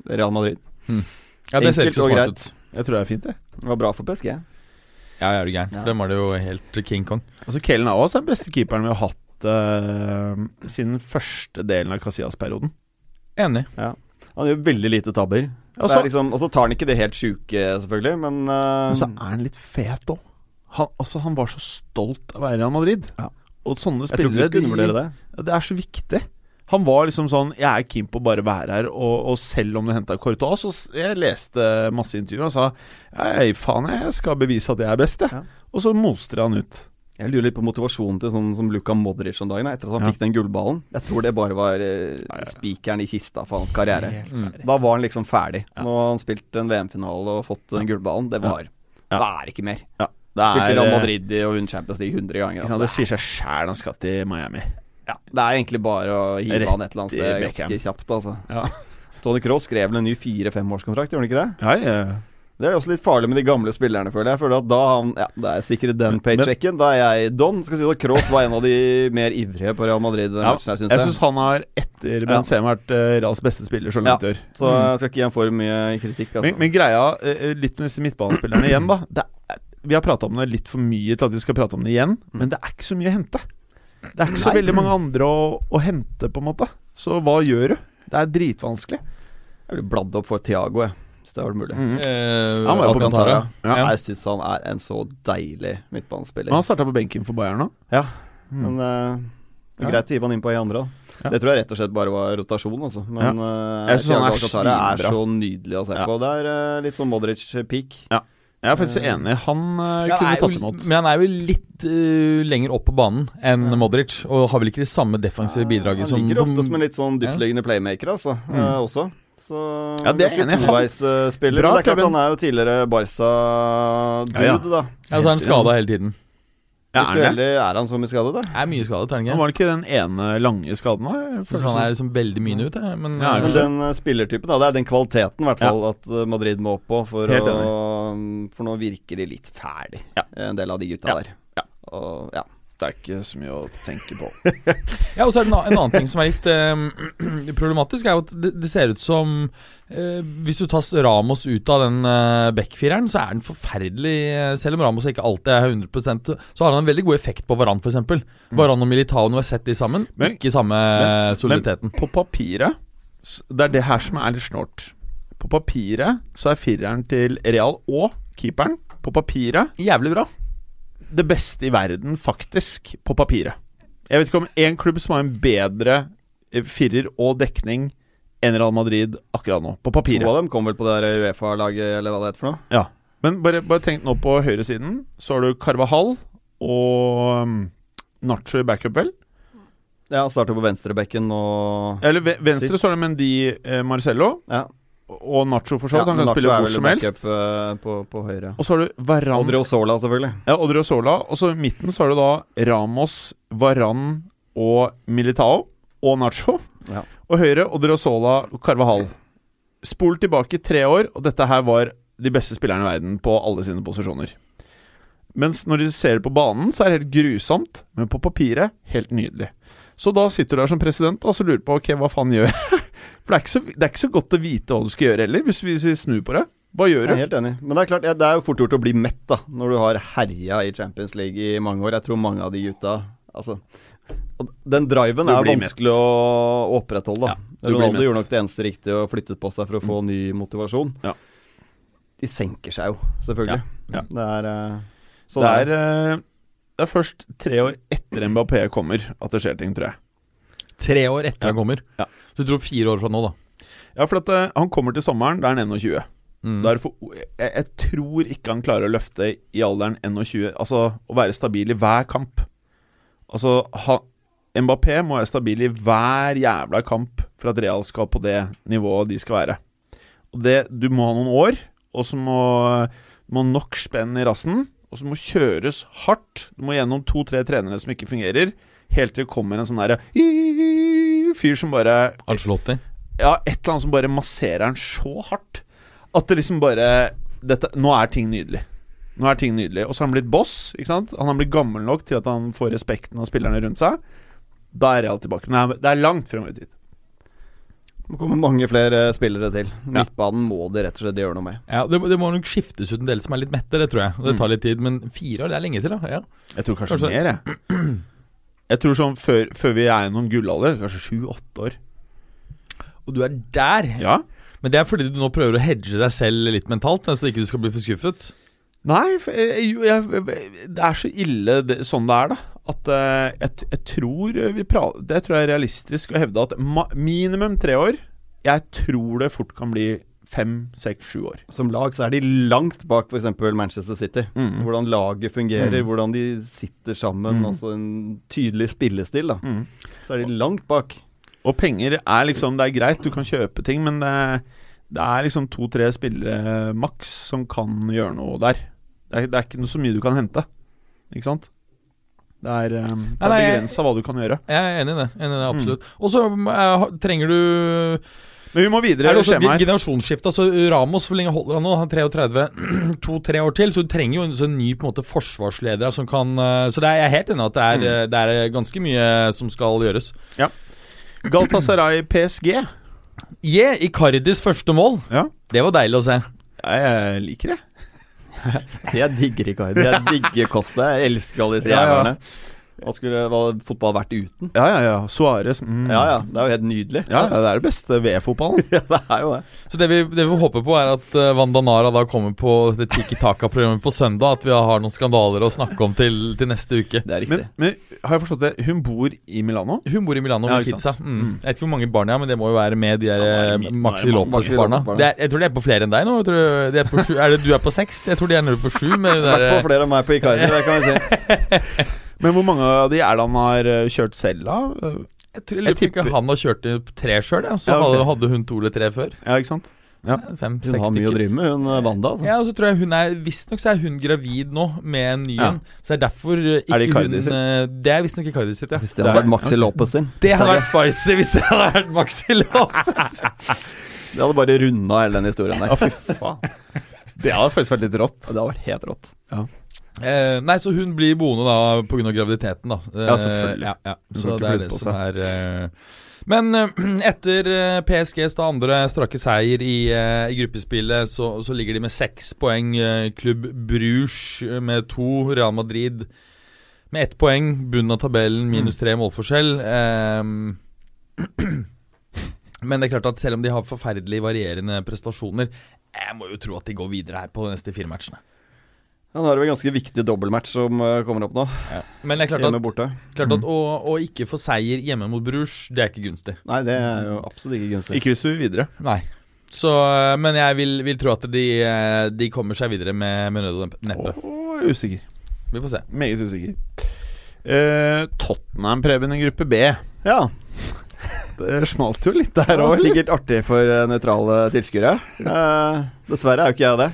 eh, Real Madrid.
ja, det ser ikke så
og
smart ut.
greit.
Jeg tror det er fint, det.
Det var bra for PSG.
Ja, ja, er du gæren. For
Ja.
dem var det jo helt King Kong.
Altså, Kellen Aas er den beste keeperen vi har hatt ø, siden første delen av Casillas-perioden.
Enig.
Han gjør veldig lite tabber.
Og
Det
så
er liksom, og så tar han ikke det helt sjuke, selvfølgelig, men eh,
Men så er han litt fet òg. Han, altså, han var så stolt av å være i Real Madrid.
Ja.
Og sånne
jeg tror ikke
spillere
vi skal undervurdere det.
Ja, det er så viktig. Han var liksom sånn Jeg er keen på å bare være her, og, og selv om du henta Courtois så s- Jeg leste masse intervjuer, og han sa Hei, faen, jeg skal bevise at jeg er best, jeg.
Ja.
Og så moster han ut.
Jeg lurer litt på motivasjonen til sånn som Luka Modric om dagen, etter at han
Ja.
fikk den gullballen. Jeg tror det bare var eh, spikeren i kista for hans karriere.
ferdig.
Da var han liksom ferdig. Nå har han spilt en VM-finale og fått den gullballen. Det var
Ja.
Da er det ikke mer.
Ja, det
Spilt i
er eh,
Real Madrid i- og vunnet Champions League 100 ganger.
Ja,
Altså.
det sier seg sjæl han skal til Miami.
Ja, det er egentlig bare å hive
Rett
han et eller annet
i
sted
Beckham.
ganske kjapt, altså.
Ja.
Tony Cross skrev vel en ny fire-femårskontrakt, gjorde han ikke det?
Ja, ja.
Det er også litt farlig med de gamle spillerne, føler jeg. Jeg føler at da han Ja, det er sikkert den paychecken. Da er jeg don. Skal si at Cross var en av de mer ivrige på Real Madrid i den
Ja,
matchen her, syns
Jeg
jeg.
syns han har etter Benzema vært eh, Reals beste spiller så langt i år.
Så jeg skal ikke gi ham for mye kritikk, altså.
Men, men greia, eh, litt med disse midtbanespillerne igjen, da. Det er, vi har prata om det litt for mye til at vi skal prate om det igjen, men det er ikke så mye å hente. Det er ikke så
Nei.
veldig mange andre å, å hente, på en måte. Så hva gjør du? Det er dritvanskelig.
Jeg ville bladd opp for Thiago, jeg. Hvis det var mulig.
Eh,
Han var jo på
Alcantara.
Alcantara.
Ja,
Ja.
Jeg syns han er en så deilig midtbanespiller.
Men han starta på benken for Bayern nå.
Ja,
Mm.
men eh, det
Ja.
er greit å hive han inn på ei andre. da.
Ja.
Det tror jeg rett og slett bare var rotasjon, altså. Men eh,
Jeg synes han er
Thiago Alcantara er
svinbra.
så nydelig å se
Ja.
på. Det er eh, litt sånn Modric-peak.
Jeg er faktisk enig. Han eh,
Men han
kunne
er
tatt
jo-
imot.
Men han er jo litt eh, lenger opp på banen enn Modric, og har vel ikke det samme defensive bidraget som
Han ligger ofte som en
en
litt sånn dyptliggende playmaker, altså. eh, også. Så
Mm. Ja, det er
ganske
enig. Han-
toveisspiller.
Bra,
Men det er klart
Klubben.
han er jo tidligere Barca-dude,
Ja, ja.
da.
Ja, så er han skada hele tiden.
Ja, er han det?
Aktuelle er han så mye skadet, da?
Er mye skadet, er
Han
han ikke?
var ikke den ene lange skaden, da? Jeg
Så
føler
han
sånn.
er liksom veldig mye ute, men
Ja,
eh,
Men
kanskje.
den eh, spillertypen, da, det er den kvaliteten i hvert fall at eh, Madrid må opp på. For,
Helt
å, mm, for nå virker de litt ferdig, eh,
Ja.
en del av de gutta
Ja.
der.
Ja.
Og, ja.
Det er ikke så mye å tenke på.
Ja, og så er det en, a- en annen ting som er litt eh, problematisk, er jo at det, det ser ut som eh, Hvis du tar Ramos ut av den uh, backfireren, så er den forferdelig eh, Selv om Ramos ikke alltid er 100 så, så har han en veldig god effekt på Varan, f.eks. Varan og Militao, når jeg har sett de sammen,
Men-
ikke samme
men-
soliditeten.
På papiret s- Det er det her som er litt snålt. På papiret så er fireren til Real og keeperen på papiret
Jævlig bra.
det beste i verden, faktisk, på papiret. Jeg vet ikke om én klubb som har en bedre eh, firer og dekning enn Real Madrid akkurat nå,
To
på papiret.
av dem kom vel på det der Uefa-laget, eller hva det heter for noe.
Ja. Men bare, bare tenk nå på høyresiden. Så har du Carvahall og um, Nacho i backup, vel?
Ja, Starter på venstrebekken og
Eller ve- venstre
Sist.
så har du Mendy eh, Marcello
ja.
og Nacho for så
Ja,
vidt. Han
men Nacho
kan spille
er
hvor
vel
som helst.
backup, eh, på, på høyre.
Og så har du Varan
Odrio Sola, selvfølgelig.
Ja, Odriozola. Og så i midten så har du da Ramos, Varan og Militao. Og Nacho.
Ja.
Og høyre Odriozola og Carvahall. Spol tilbake tre år, og dette her var de beste spillerne i verden på alle sine posisjoner. Mens når de ser det på banen, så er det helt grusomt, men på papiret helt nydelig. Så da sitter du der som president og så lurer på ok, hva faen gjør jeg? For det er, ikke så, det er ikke så godt å vite hva du skal gjøre heller, hvis vi hvis vi snur på det. Hva gjør
Jeg
du?
er helt enig. Men det er klart, ja, det er jo fort gjort å bli mett da når du har herja i Champions League i mange år. Jeg tror mange av de gutta Altså og Den driven
Du
er
blir
vanskelig å opprettholde. da.
du blir
Ronaldo
mett. Mm.
gjorde nok det eneste riktige og flyttet på seg for å få ny motivasjon.
Ja.
De senker seg jo, selvfølgelig.
Ja, ja.
Det er eh, sånn
det,
er
er, eh, det er først tre år etter Mbappé kommer at det skjer ting, tror jeg.
Tre år etter han kommer.
Ja.
Så du tror fire år fra nå, da.
Ja, for at eh, han kommer til sommeren, da er han 21. Da er det for, jeg, jeg tror ikke han klarer å løfte i alderen 21, altså å være stabil i hver kamp. Altså, ha, Mbappé må være stabil i hver jævla kamp for at Real skal på det nivået de skal være. Og det, du må ha noen år, og så må du må ha nok spenn i rassen, og så må kjøres hardt. Du må gjennom to-tre trenere som ikke fungerer, helt til det kommer en sånn derre fyr som bare
Ancelotti.
ja, et eller annet som bare masserer den så hardt at det liksom bare dette, Nå er ting nydelig. Nå er ting nydelig. Og så har han blitt boss. ikke sant? Han har blitt gammel nok til at han får respekten av spillerne rundt seg. Da er Real tilbake. Men det er- det er langt frem i tid.
Det kommer mange flere eh, spillere til. Midtbanen må de rett og slett gjøre noe med.
Ja, det, må- det må nok skiftes ut en del som er litt mette, det tror jeg. Og det tar litt tid, men fire år, det er lenge til, da. Ja.
Jeg tror kanskje,
Kanskje-
mer, jeg. Jeg tror sånn før, før vi er i noen gullalder, kanskje sju-åtte år.
Og du er der!
Ja?
Men det er fordi du nå prøver å hedge deg selv litt mentalt, men så ikke du skal bli for skuffet.
Nei, for jeg, jo, jeg, det er så ille det, sånn det er, da. At eh, jeg, t- jeg tror eh, vi pra Det tror jeg er realistisk å hevde at ma minimum tre år Jeg tror det fort kan bli fem, seks, sju år.
Som lag så er de langt bak f.eks. Manchester City.
Mm.
Hvordan laget fungerer, hvordan de sitter sammen.
Mm.
Altså en tydelig spillestil, da.
Mm.
Så er de langt bak.
Og penger er liksom Det er greit, du kan kjøpe ting, men det, det er liksom to-tre spillere eh, maks som kan gjøre noe der. Det er, det er ikke noe så mye du kan hente, ikke sant? Det er, eh, det
Nei,
er
nei, jeg-
begrensa hva du kan gjøre.
Jeg er enig i det. enig i
Mm.
det, Absolutt. Og så eh, ha- trenger du
Men vi må
Er
videre
det
i
også
skjemaet her.
generasjonsskifte? Altså Ramos, hvor lenge holder han nå? Han er 33, to-tre år til. Så du trenger jo en sånn ny på en måte forsvarsleder som kan eh, Så det er, jeg er helt enig i at det
Mm.
er, eh, det er ganske mye eh, som skal gjøres.
Galtasaray PSG.
Yeah, Icardis første mål.
Ja.
Det var deilig å se.
Jeg liker det.
Jeg digger Icardi. Jeg digger Costa. Jeg elsker alle disse
Ja, ja.
jævlene. Hva skulle hva hadde fotball vært uten?
Ja, ja, ja. Suárez. Mm.
Ja ja, det er jo helt nydelig.
Ja, ja, det er det beste ved fotballen.
Ja, det er jo det.
Så det vi, det vi håper på, er at eh, Vandanara da kommer på det Tiki Taka-programmet på søndag. At vi har noen skandaler å snakke om til, til neste uke.
Det er riktig.
Men, men har jeg forstått det, hun bor i Milano?
Hun bor i Milano
Ja,
med
ikke
kidsa.
sant?
Mm. Jeg vet ikke hvor mange barn jeg har, men det må jo være med de der
Ja,
eh,
det er mye-
Maxi
det er mange-
Lopez-barna.
Maxi Lopez-barna.
Det er- Jeg tror de er på flere enn deg nå. Jeg tror de er, på sju. er det du er på seks? Jeg tror de er nede på sju. Med de
I hvert fall
der,
flere enn meg på Icardi, det kan jeg si.
Men hvor mange av de er det han har eh, kjørt selv av? Eh,
jeg tror
jeg
jeg lurer på ikke
tipper-
han har kjørt i tre sjøl, ja. så
Ja, ok.
hadde, hadde hun to eller tre før.
Ja, ikke sant? Ja.
Hun
Fem-seks
har mye å
stykker.
drive med, hun eh, Wanda. Altså.
Ja, og så tror jeg hun er Visstnok så er hun gravid nå, med en ny
Ja.
en. Så det er derfor eh, ikke
det Icardi
hun
sitt?
eh, Det er visstnok Icardi sitt, ja.
Hvis det hadde vært Maxi Lopez sin.
Det hadde vært spicy hvis det hadde vært Maxi Lopez.
Det hadde bare runda hele den historien der.
fy faen. Det hadde faktisk vært litt rått.
Det hadde vært helt rått.
eh, nei, så hun blir boende da pga. graviditeten, da. Eh,
Ja, selvfølgelig.
Ja, ja.
får
Så
ikke
det er
flytte
det
på
som er eh, men eh, etter eh, PSGs da andre strake seier i, eh, i gruppespillet, så, så ligger de med seks poeng. eh, Klubb Bruges eh, med to, Real Madrid med ett poeng. Bunnen av
Mm.
tabellen minus tre målforskjell. Eh, men det er klart at selv om de har forferdelig varierende prestasjoner, jeg må jo tro at de går videre her på de neste fire matchene.
Ja, nå er det vel ganske viktig dobbeltmatch som eh, kommer opp nå.
Men det er klart at
Hjemme borte.
Klart at å, å ikke få seier hjemme mot Bruges, det er ikke gunstig.
Nei, det er jo absolutt ikke gunstig.
Ikke hvis du vil videre.
Nei. Så, eh, men jeg vil, vil tro at de, eh, de kommer seg videre med, med nød og nempe- neppe.
Åh, jeg er usikker.
Vi får se.
Meget usikker. Eh, Tottenham, Preben, i gruppe B.
Ja,
Det smalt jo litt der
det var
òg.
sikkert artig for eh, nøytrale tilskuere. Eh, dessverre er jo ikke jeg det.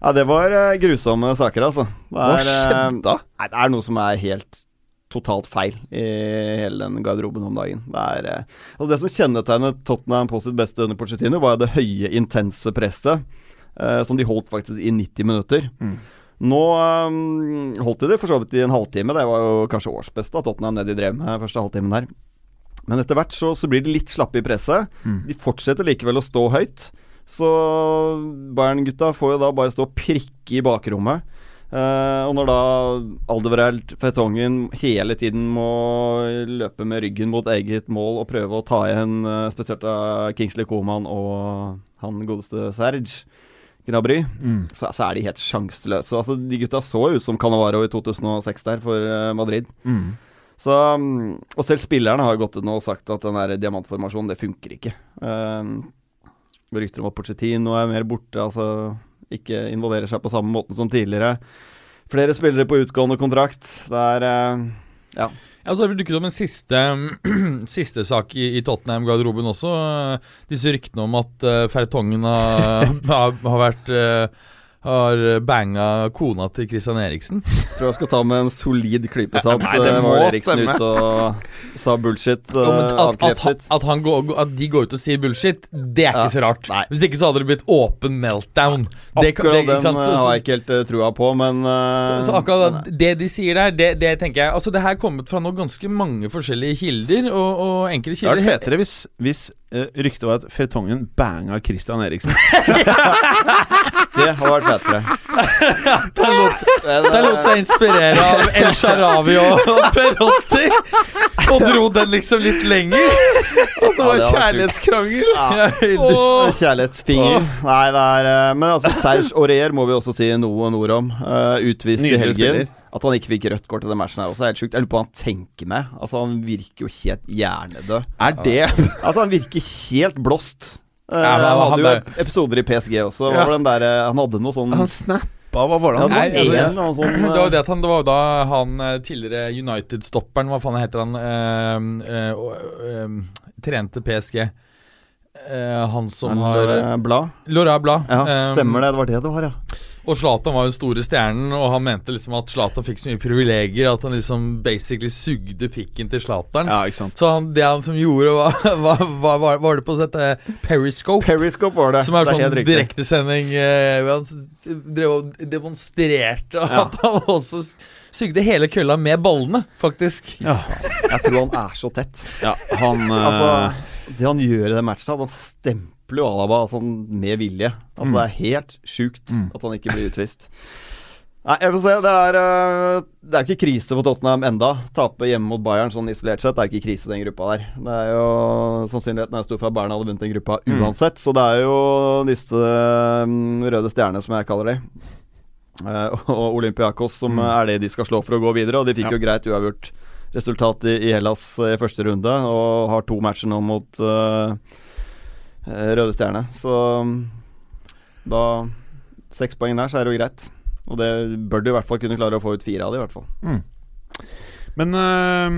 Ja, det var eh, grusomme saker, altså. Det
Hva
eh,
skjedde da?
Nei, det er noe som er helt totalt feil i hele den garderoben om dagen. Det, er, eh, altså det som kjennetegnet Tottenham på sitt beste under Pochettino, var det høye, intense presset, eh, som de holdt faktisk i 90 minutter.
Mm.
Nå eh, holdt de det for så vidt i en halvtime, det var jo kanskje årsbeste av Tottenham det de drev med første halvtimen der. Men etter hvert så, så blir de litt slappe i presset.
Mm.
De fortsetter likevel å stå høyt. Så Bayern-gutta får jo da bare stå og prikke i bakrommet. Eh, og når da Aldevereld Fetongen hele tiden må løpe med ryggen mot eget mål og prøve å ta igjen eh, spesielt av Kingsley Coman og han godeste Serge Gnabry,
Mm.
så, så er de helt sjanseløse. Altså, de gutta så ut som Canavaro i 2006 der for eh, Madrid.
Mm.
Så, mm, og selv spillerne har gått ut nå og sagt at den der diamantformasjonen, det funker ikke. Um, rykter om at Pochettino er mer borte, altså ikke involverer seg på samme måten som tidligere. Flere spillere på utgående kontrakt. Det er eh,
Ja, så har det vel dukket opp en siste, siste sak i, i Tottenham-garderoben også. Eh, Disse ryktene om at uh, Fertongen har, har, har vært eh, har banga kona til Christian Eriksen.
Tror jeg skal ta med en solid klype salt.
Nei, det
Eh,
må
var Eriksen
stemme.
ut og sa bullshit. eh,
Jo, men at, at, han-
avkreftet.
at, han går, at de går ut og sier bullshit, det er ikke
Ja.
så rart. Hvis ikke så hadde det blitt åpen meltdown. Det-
Akkurat
det- ikke
den eh,
sant? Så- så-
har jeg ikke helt eh, trua på, men
Så,
eh,
så akkurat
men, eh,
det de sier der, det, det tenker jeg Altså, det her er kommet fra nå ganske mange forskjellige kilder, og, og enkelte
Det hadde
kilder
vært fetere hvis, hvis eh, ryktet var at Fertongen banga Christian Eriksen.
Det hadde vært fetere.
Der lot,
Det-
der lot seg inspirere av El Sharawi og, og Perotti, og dro den liksom litt lenger.
At det
var
var
Kjærlighetskrangel.
Ja.
Åh.
Kjærlighetsfinger. Nei, det er eh, Men altså, Serge Aurier må vi også si noen ord om. Eh, utvist i
Nydelig
helgen.
spiller.
At han ikke fikk rødt kort i den matchen her også, er helt sjukt. Jeg lurer på hva han tenker med. Altså, han virker jo helt hjernedød.
Er det
Altså, han virker helt blåst. Eh,
Ja, men
han
han
hadde jo
er-
episoder i PSG også. Hva
Ja.
var den der, eh, han hadde noe sånn
Han snappa, hva var
Ja,
det han
det var
Nei, altså,
en, og sånn,
Det
eh,
var jo det at han, det var jo da han eh, tidligere United-stopperen, hva faen heter han, eh, eh, og, eh, trente PSG. Eh, han som
han
har
har, eh, Blad.
Laura Eh, Blad. Um,
Ja, stemmer det. Det var det det var, ja.
Og Zlatan var jo den store stjernen, og han mente liksom at Zlatan fikk så mye privilegier at han liksom basically sugde pikken til Zlatan.
Ja, ikke sant.
Så han, det han som gjorde, var, var, var, var, var det på å sette Periscope?
Periscope var det.
Som er,
det er helt
sånn
riktig.
direktesending eh, hvor Han s- s- drev og demonstrerte at han også s- sugde hele kølla med ballene, faktisk.
Jeg tror han er så tett.
Ja, han eh,
Altså, det han gjør i den matchen, han stempler jo Alaba altså, med vilje. Altså, Det er helt sjukt at han ikke blir utvist. Nei, jeg får se. Det er, eh, det er jo ikke krise for Tottenham enda. Tape hjemme mot Bayern sånn isolert sett, det er jo ikke krise den gruppa der. Det er jo, Sannsynligheten er stor for at Bayern hadde vunnet den gruppa uansett. Så det er jo disse mm, røde stjernene, som jeg kaller de. eh, og Olympiakos, som er det de skal slå for å gå videre. Og de fikk jo greit uavgjort resultat i, i Hellas eh, i første runde, og har to matcher nå mot eh, eh, Røde Stjerne. Så mm, da Seks poeng der, så er det jo greit. Og det bør du i hvert fall kunne klare å få ut fire av det, i hvert fall.
Men eh,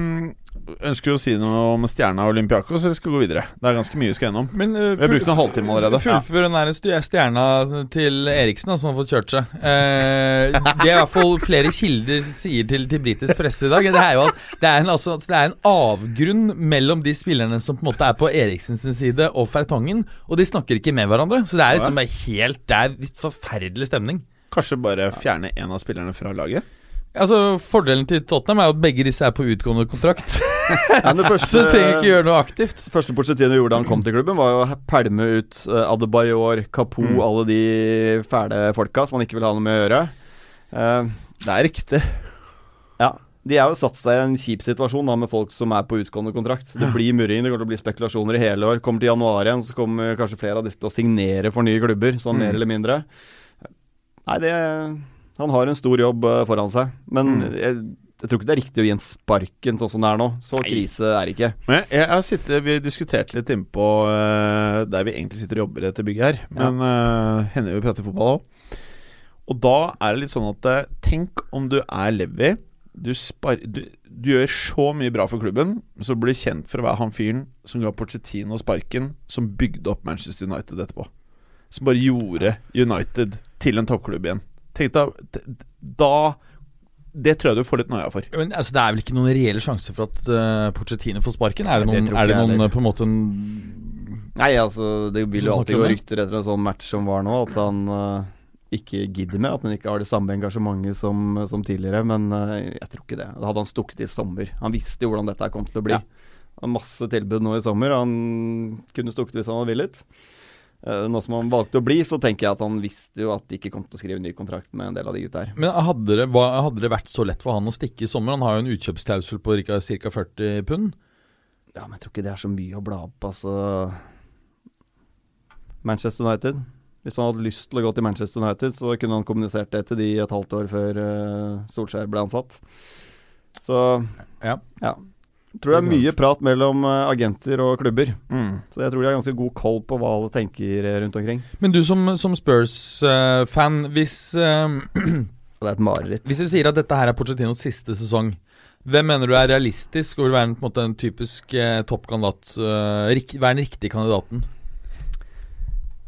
ønsker du å si noe om stjerna og Olympiakos, eller skal vi gå videre? Det er ganske mye vi skal gjennom.
Men
Vi har brukt en halvtime allerede.
Fullfør den der stu- stjerna til Eriksen, da, som har fått kjørt seg. Eh, det er i hvert fall flere kilder sier til, til britisk presse i dag. Det er jo at det er, en, altså, det er en avgrunn mellom de spillerne som på en måte er på Eriksens side og Fertongen, og de snakker ikke med hverandre. Så det er liksom bare helt Det er visst forferdelig stemning.
Kanskje bare fjerne en av spillerne fra laget?
Altså, Fordelen til Tottenham er jo at begge disse er på utgående kontrakt.
Men det
Så
første,
du trenger ikke gjøre noe aktivt.
første Pochettino gjorde da han kom til klubben, var jo å pælme ut uh, Adebayor, Kapo,
Mm.
alle de fæle folka som han ikke vil ha noe med å gjøre. Eh,
Det er riktig.
Ja. De har jo satt seg i en kjip situasjon da, med folk som er på utgående kontrakt. Det blir murring, det kommer til å bli spekulasjoner i hele år. Kommer til januar igjen, så kommer kanskje flere av disse til å signere for nye klubber, sånn mer eller mindre. Nei, det Han har en stor jobb eh, foran seg. Men jeg, jeg tror ikke det er riktig å gi en sparken sånn som det er nå. Så krise er det ikke.
Men jeg, jeg har sittet, Vi diskuterte litt innpå eh, der vi egentlig sitter og jobber i dette bygget her. Men eh, hender jo vi prater fotball òg. Og da er det litt sånn at eh, Tenk om du er Levi. Du, spar, du, du gjør så mye bra for klubben, så blir du kjent for å være han fyren som ga Pochettino sparken, som bygde opp Manchester United etterpå. Som bare gjorde United til en toppklubb igjen. Tenk da, da Det tror jeg du får litt noia for.
Men altså, Det er vel ikke noen reelle sjanse for at uh, Pochettino får sparken? Er det
Nei,
noen,
det tror ikke
er det
jeg
noen
heller.
eh, på en måte en
Nei, altså, det vil jo
Hvordan snakker
alltid
du
gå
om det?
rykter etter en sånn match som var nå, at han eh, ikke gidder med. At han ikke har det samme engasjementet som, som tidligere. Men eh, jeg tror ikke det. Da hadde han stukket i sommer. Han visste jo hvordan dette her kom til å bli.
Ja.
Han har masse tilbud nå i sommer. Han kunne stukket hvis han hadde villet. Eh, nå som han valgte å bli, så tenker jeg at han visste jo at de ikke kom til å skrive ny kontrakt med en del av de gutta her.
Men hadde det, hva, hadde det vært så lett for han å stikke i sommer? Han har jo en utkjøpsklausul på ca. 40 pund.
Ja, men jeg tror ikke det er så mye å bla opp, altså. Manchester United. Hvis han hadde lyst til å gå til Manchester United, så kunne han kommunisert det til de et halvt år før eh, Solskjær ble ansatt. Så
Ja.
ja. Tror det er mye prat mellom eh, agenter og klubber.
Mm.
Så jeg tror de har ganske god koll på hva alle tenker eh, rundt omkring.
Men du som, som Spurs-fan, hvis, eh,
Og det er et mareritt.
hvis vi sier at dette her er Pochettinos siste sesong, hvem mener du er realistisk og vil være en, på en, måte, en typisk eh, toppkandidat? eh, rik- være den riktige kandidaten?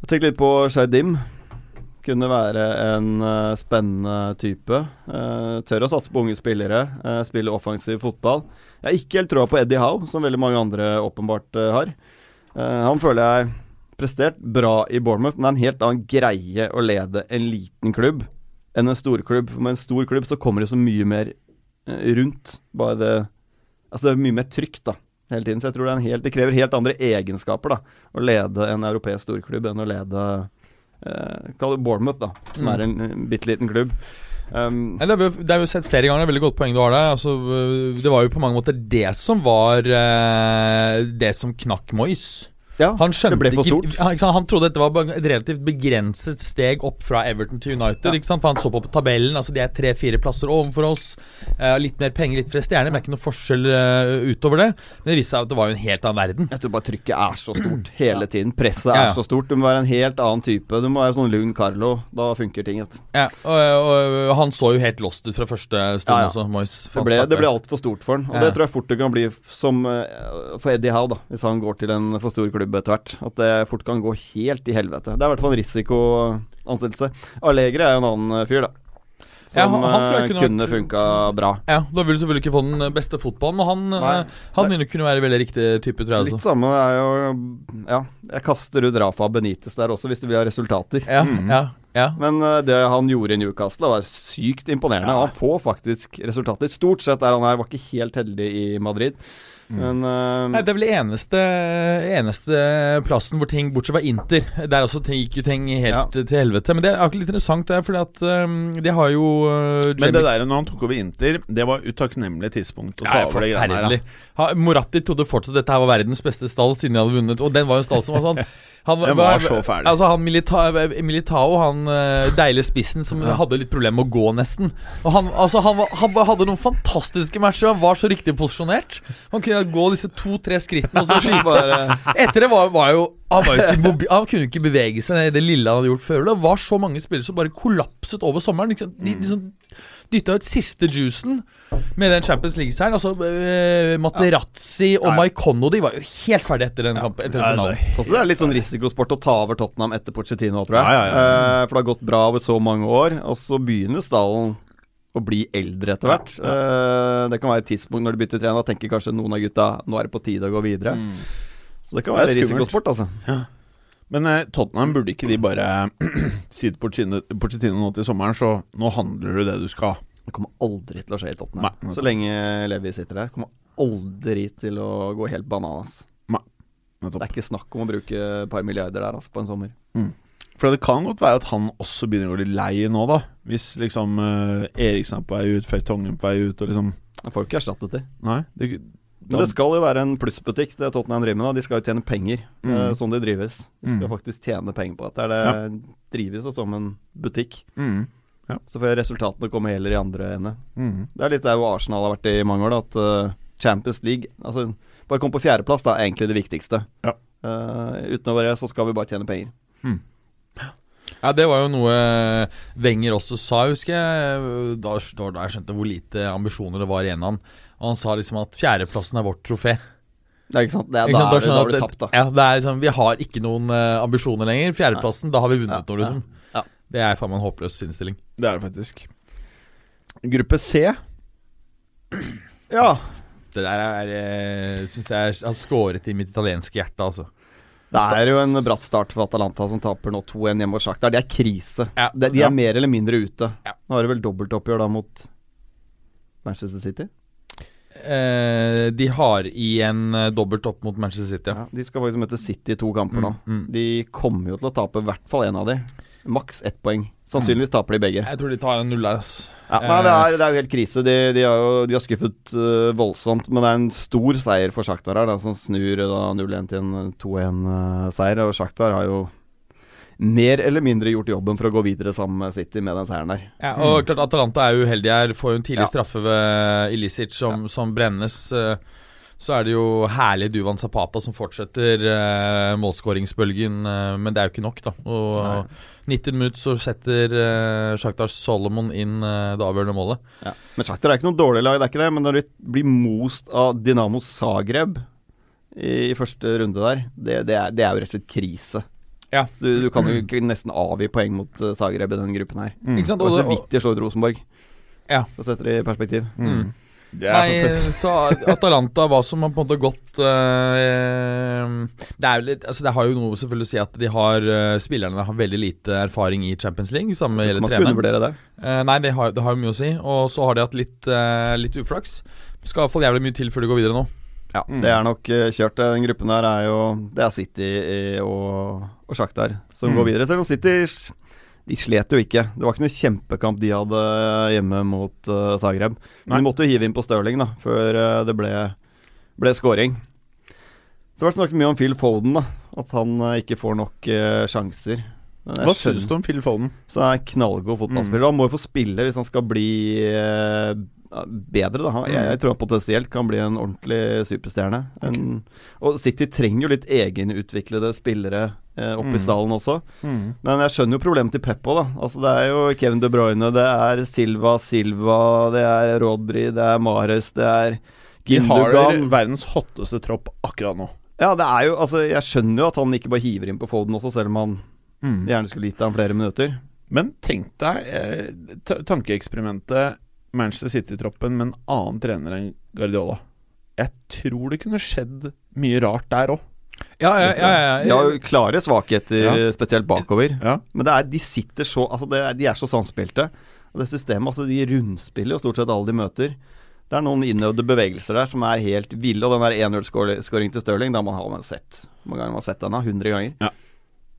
Tenk litt på Shardim. Kunne være en eh, spennende type. Eh, tør å satse på unge spillere. eh, spille offensiv fotball. Jeg har ikke helt troa på Eddie Howe, som veldig mange andre åpenbart eh, har. Eh, han føler jeg prestert bra i Bournemouth, men det er en helt annen greie å lede en liten klubb enn en storklubb. For med en stor klubb så kommer det så mye mer eh, rundt. Bare det Altså det er mye mer trygt, da. Hele tiden. Så jeg tror det, er en helt, det krever helt andre egenskaper, da å lede en europeisk storklubb enn å lede eh, Kall det Bournemouth, da, som
Mm.
er en, en bitte liten klubb. Um,
Nei, det, har vi, jo- det har vi jo sett flere ganger. Veldig godt poeng du har der. Altså, øh, det var jo på mange måter det som var øh, Det som knakk Moyes.
ja,
Han skjønte
det ble for
ikke,
stort.
ja, ikke sant? Han trodde dette var bare et relativt begrenset steg opp fra Everton til United. Ikke sant? For Han så på, på tabellen. Altså De er tre-fire plasser overfor oss. Eh, litt mer penger, litt flere stjerner. Men det er ikke noe forskjell eh, utover det. Men det viste seg at det var jo en helt annen verden.
Jeg tror bare trykket er så stort hele tiden. Presset er
Ja, ja.
så stort. Du må være en helt annen type. Du må være sånn Lugn Carlo. Da funker ting. vet du.
Ja, og, og Han så jo helt lost ut fra første stund
Ja, ja.
også, Moyes.
Det ble, det ble altfor stort for han. Og
Ja.
det tror jeg fort det kan bli f- som eh, for Eddie Howe, da, hvis han går til en for stor klubb etter hvert. At det fort kan gå helt i helvete. Det er i hvert fall en risikoansettelse. Allegri er jo en annen eh, fyr, da.
Ja,
Som
han- han tror jeg
eh,
kunne
kunne,
vært-
funka bra.
Ja, Da vil du selvfølgelig ikke få den beste fotballen, men han,
Nei.
eh, han begynner å kunne være veldig riktig type, tror jeg.
Litt
Altså.
samme er jo Ja, jeg kaster ut Rafa Benitez der også, hvis du vil ha resultater.
Ja, ja, ja.
Men eh, det han gjorde i Newcastle, var sykt imponerende.
Ja.
Han får faktisk resultater. Stort sett er han her. Var ikke helt heldig i Madrid,
Mm.
men eh,
Nei, Det er vel eneste, eneste plassen hvor ting bortsett fra Inter. Der også ting, gikk jo ting helt til helvete. Men det er akkurat litt interessant, det, fordi at eh, det har jo eh,
Men
Jamie-
det der når han tok over Inter, det var utakknemlig tidspunkt å ta
Ja,
over det greiene her.
forferdelig. Ha, Moratti trodde fortsatt dette her var verdens beste stall siden de hadde vunnet, og den var jo en stall som var sånn han,
Den var så ferdig.
Altså han Milita Militao, han eh, deilige spissen som hadde litt problemer med å gå, nesten. Og han, altså, han, var- han bare hadde noen fantastiske matcher, han var så riktig posisjonert. Han kunne gå disse to-tre skrittene og så skyte. Etter det var, var jo han, var jo ikke mobi han kunne ikke bevege seg ned i det lille han hadde gjort før. Det var så mange spillere som bare kollapset over sommeren. Liksom, de liksom dytta ut siste juicen med den Champions League-seieren. Altså, eh, Materazzi og Maikono de var jo helt ferdig etter den kampen. Etter den finalen.
Også det er litt sånn risikosport å ta over Tottenham etter Pochettino, tror jeg.
Ja, ja,
Eh, for det har gått bra over så mange år, og så begynner stallen å bli eldre etter hvert. Eh, det kan være et tidspunkt når de bytter trener, da tenker kanskje noen av gutta nå er det på tide å gå videre. Så det kan
Mm. Det er
være
skummelt.
risikosport, altså.
Men eh, Tottenham burde ikke de bare si til Pochettino Pochettino nå til sommeren, så nå handler du det du skal.
Det kommer aldri til å skje i Tottenham.
Nei.
Så lenge Levi sitter der. Kommer aldri til å gå helt bananas. Det
Nettopp.
er ikke snakk om å bruke et par milliarder der altså, på en sommer.
For det kan godt være at han også begynner å bli lei nå, da. Hvis liksom eh, Eriksen er på vei ut, Fertongen er på vei ut, og liksom
Jeg får jo ikke erstattet de.
Nei. Det,
Men det skal jo være en plussbutikk, det Tottenham driver med. da. De skal jo tjene penger. Det er
Mm.
sånn de drives. De skal
Mm.
faktisk tjene penger på dette. Det drives jo som en butikk.
mm,
Så får resultatene komme heller i andre ende.
mm.
Det er litt der hvor Arsenal har vært i mange år, da. At eh, Champions League altså, Bare kom på fjerdeplass, da, er egentlig det viktigste.
Ja.
Eh, utover det så skal vi bare tjene penger.
Ja, Det var jo noe eh, Wenger også sa, husker jeg. Da, da, da jeg skjønte hvor lite ambisjoner det var igjen av han. Og han sa liksom at fjerdeplassen er vårt trofé.
Det er ikke sant? Det er,
Ikke sant?
da, er, det-
skjønner
da har
jeg
du
at
tapt, da.
det- Ja, det er liksom, Vi har ikke noen eh, ambisjoner lenger. Fjerdeplassen, da har vi
Ja,
vunnet noe, liksom.
ja, ja.
Det er faen meg en håpløs innstilling.
det er det faktisk. Gruppe C.
Ja.
Det der er, syns jeg har skåret i mitt italienske hjerte, altså.
Det er jo en bratt start for Atalanta, som taper nå 2-1 hjemme hos Shakhtar. Det er krise.
Ja.
De, de
Ja.
er mer eller mindre ute.
Ja.
Nå har de vel dobbeltoppgjør da mot Manchester City.
Eh, de har igjen eh, dobbelt opp mot Manchester City. Ja.
Ja, de skal faktisk møte City i to kamper nå.
Mm, mm.
De kommer jo til å tape i hvert fall én av de. Maks ett poeng. Sannsynligvis
Mm.
taper de begge.
Jeg tror de tar en null der. ass.
Ja, nei, det, er, det er jo helt krise. De, de, har jo, de har skuffet øh, voldsomt. Men det er en stor seier for Shakhtar her, da, som snur øh, da 0-1 til en 2-1-seier. og Shakhtar har jo mer eller mindre gjort jobben for å gå videre sammen med City med den seieren der.
Ja, og klart Atalanta er uheldig her. Får jo en tidlig
Mm. Ja.
straffe ved Ilicic som, som brennes. eh, Så er det jo herlig Duvan Zapata som fortsetter eh, målskåringsbølgen, eh, men det er jo ikke nok, da. Og
Nei.
90 minutter så setter eh, Shakhtar Solomon inn eh, det avgjørende målet.
Men Shakhtar er ikke noe dårlig lag, det er ikke det. Men når du blir most av Dinamo Zagreb i, i første runde der, det, det, er, det er jo rett og slett krise.
Ja.
Du, du kan jo ikke nesten avgi poeng mot øh, Zagreb i den gruppen her.
Mm.
Ikke sant?
Det var
Og,
så
og,
vidt de slo ut Rosenborg.
Ja.
Det setter det i perspektiv.
Mm.
Det er
Nei,
faktisk
så Atalanta var som har på en måte gått eh, Det er jo litt Altså det har jo noe selvfølgelig å si at de har eh, spillerne har veldig lite erfaring i Champions League. Samme
Man
gjelder
skal
treneren.
undervurdere det.
Eh, nei, det har, det har jo mye å si. Og så har de hatt litt, eh, litt uflaks. Skal iallfall jævlig mye til før de går videre nå.
Ja,
Mm.
det er nok eh, kjørt. Den gruppen der er jo Det er City eh, og, og Shakhtar som
Mm.
går videre. Selv om City s- de slet jo ikke. Det var ikke noe kjempekamp de hadde hjemme mot eh, Zagreb. Men de måtte jo hive inn på Stirling da, før eh, det ble, ble scoring. Så har det vært snakket mye om Phil Foden, da. At han eh, ikke får nok eh, sjanser. Men jeg
Hva
skjønner-
syns du om Phil Foden?
Så han er en knallgod
Mm.
fotballspiller. Han må jo få spille hvis han skal bli eh, bedre. Da. Han,
Mm.
jeg, jeg tror han potensielt kan bli en ordentlig superstjerne. En, og City trenger jo litt egenutviklede spillere eh, oppe
Mm.
i stallen også.
Mm.
Men jeg skjønner jo problemet til Pep òg, da. Altså, det er jo Kevin De Bruyne, det er Silva Silva, det er Rodri, det er Mares, det er
De har
Gindogan.
verdens hotteste tropp akkurat nå.
Ja, det er jo Altså, jeg skjønner jo at han ikke bare hiver inn på Foden også, selv om han
Mm.
gjerne skulle gitt ham flere minutter.
Men tenk deg eh, ta- tankeeksperimentet Manchester City-troppen med en annen trener enn Guardiola. Jeg tror det kunne skjedd mye rart der òg.
Ja, ja, ja, ja,
De har jo klare svakheter,
Ja.
spesielt bakover.
Ja.
Men det er, de sitter så Altså, det er, de er så samspilte. Og det systemet, altså, de rundspiller jo stort sett alle de møter. Det er noen innøvde bevegelser der som er helt ville, og den der 1-0-skåringen til Stirling, da man har man sett Hvor mange ganger man har sett den, da? 100 ganger?
Ja.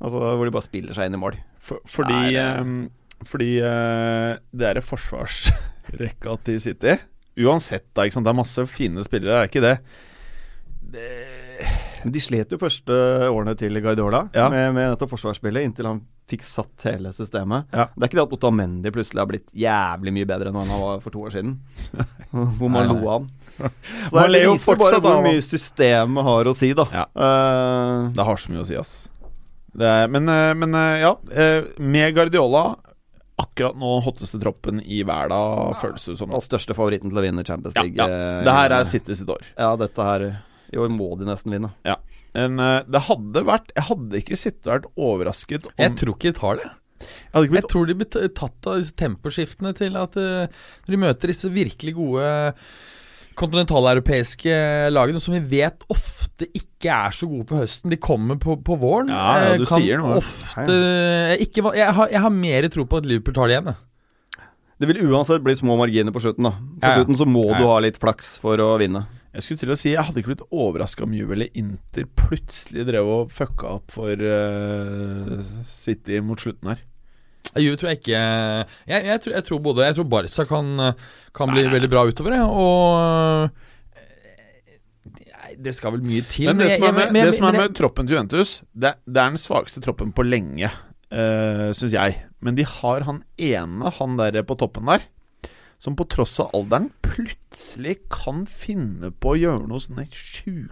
Altså, hvor de bare spiller seg inn i mål.
For, fordi
Nei, det-
eh, fordi eh, det er forsvarsrekka til City. Uansett, da, ikke sant? det er masse fine spillere, er ikke det?
Men de slet jo første årene til Guardiola
Ja.
med, med nettopp forsvarsspillet, inntil han fikk satt hele systemet.
Ja.
Det er ikke det at Otamendi plutselig har blitt jævlig mye bedre enn han var for to år siden, hvor man
Nei,
lo
nei.
av han. Så
Man
det
ler jo
viser jo bare
fortsatt av
hvor
han.
mye systemet har å si, da.
Ja.
Eh,
Det har så mye å si, ass. Det er, men, eh, men eh, ja, eh, med Guardiola akkurat nå hotteste troppen i verden, føles det som.
og største favoritten til å vinne Champions
Ja,
League.
ja.
eh,
Det her er City sitt år.
Ja, dette her I år må de nesten vinne.
Ja. Men eh, det hadde vært Jeg hadde ikke sittet og vært overrasket om
Jeg tror ikke de tar det.
Jeg hadde ikke
Jeg
blitt
tror de blir t- tatt av disse temposkiftene til at eh, når de møter disse virkelig gode kontinentaleuropeiske lagene, som vi vet ofte ikke er så gode på høsten. De kommer på, på våren.
Ja, ja,
eh,
du
kan
sier noe.
Ofte, Eh, ikke, va- jeg, har, jeg har mer tro på at Liverpool tar det igjen. jeg.
Det vil uansett bli små marginer på slutten, da. På
Ja, ja.
slutten så må
Ja,
du
ja.
ha litt flaks for å vinne.
Jeg skulle til å si Jeg hadde ikke blitt overraska om Juvel i Inter plutselig drev og fucka opp for eh, City mot slutten her.
Juve tror jeg ikke Jeg, jeg, tror, jeg tror både Jeg tror Barca kan, kan bli veldig bra utover, jeg, og Nei, det skal vel mye til.
Men det
jeg-
som er
jeg-
med,
men jeg-
det som er
men jeg-
med troppen til Juventus, det, det er den svakeste troppen på lenge, uh, syns jeg. Men de har han ene, han der på toppen der, som på tross av alderen plutselig kan finne på å gjøre noe sånne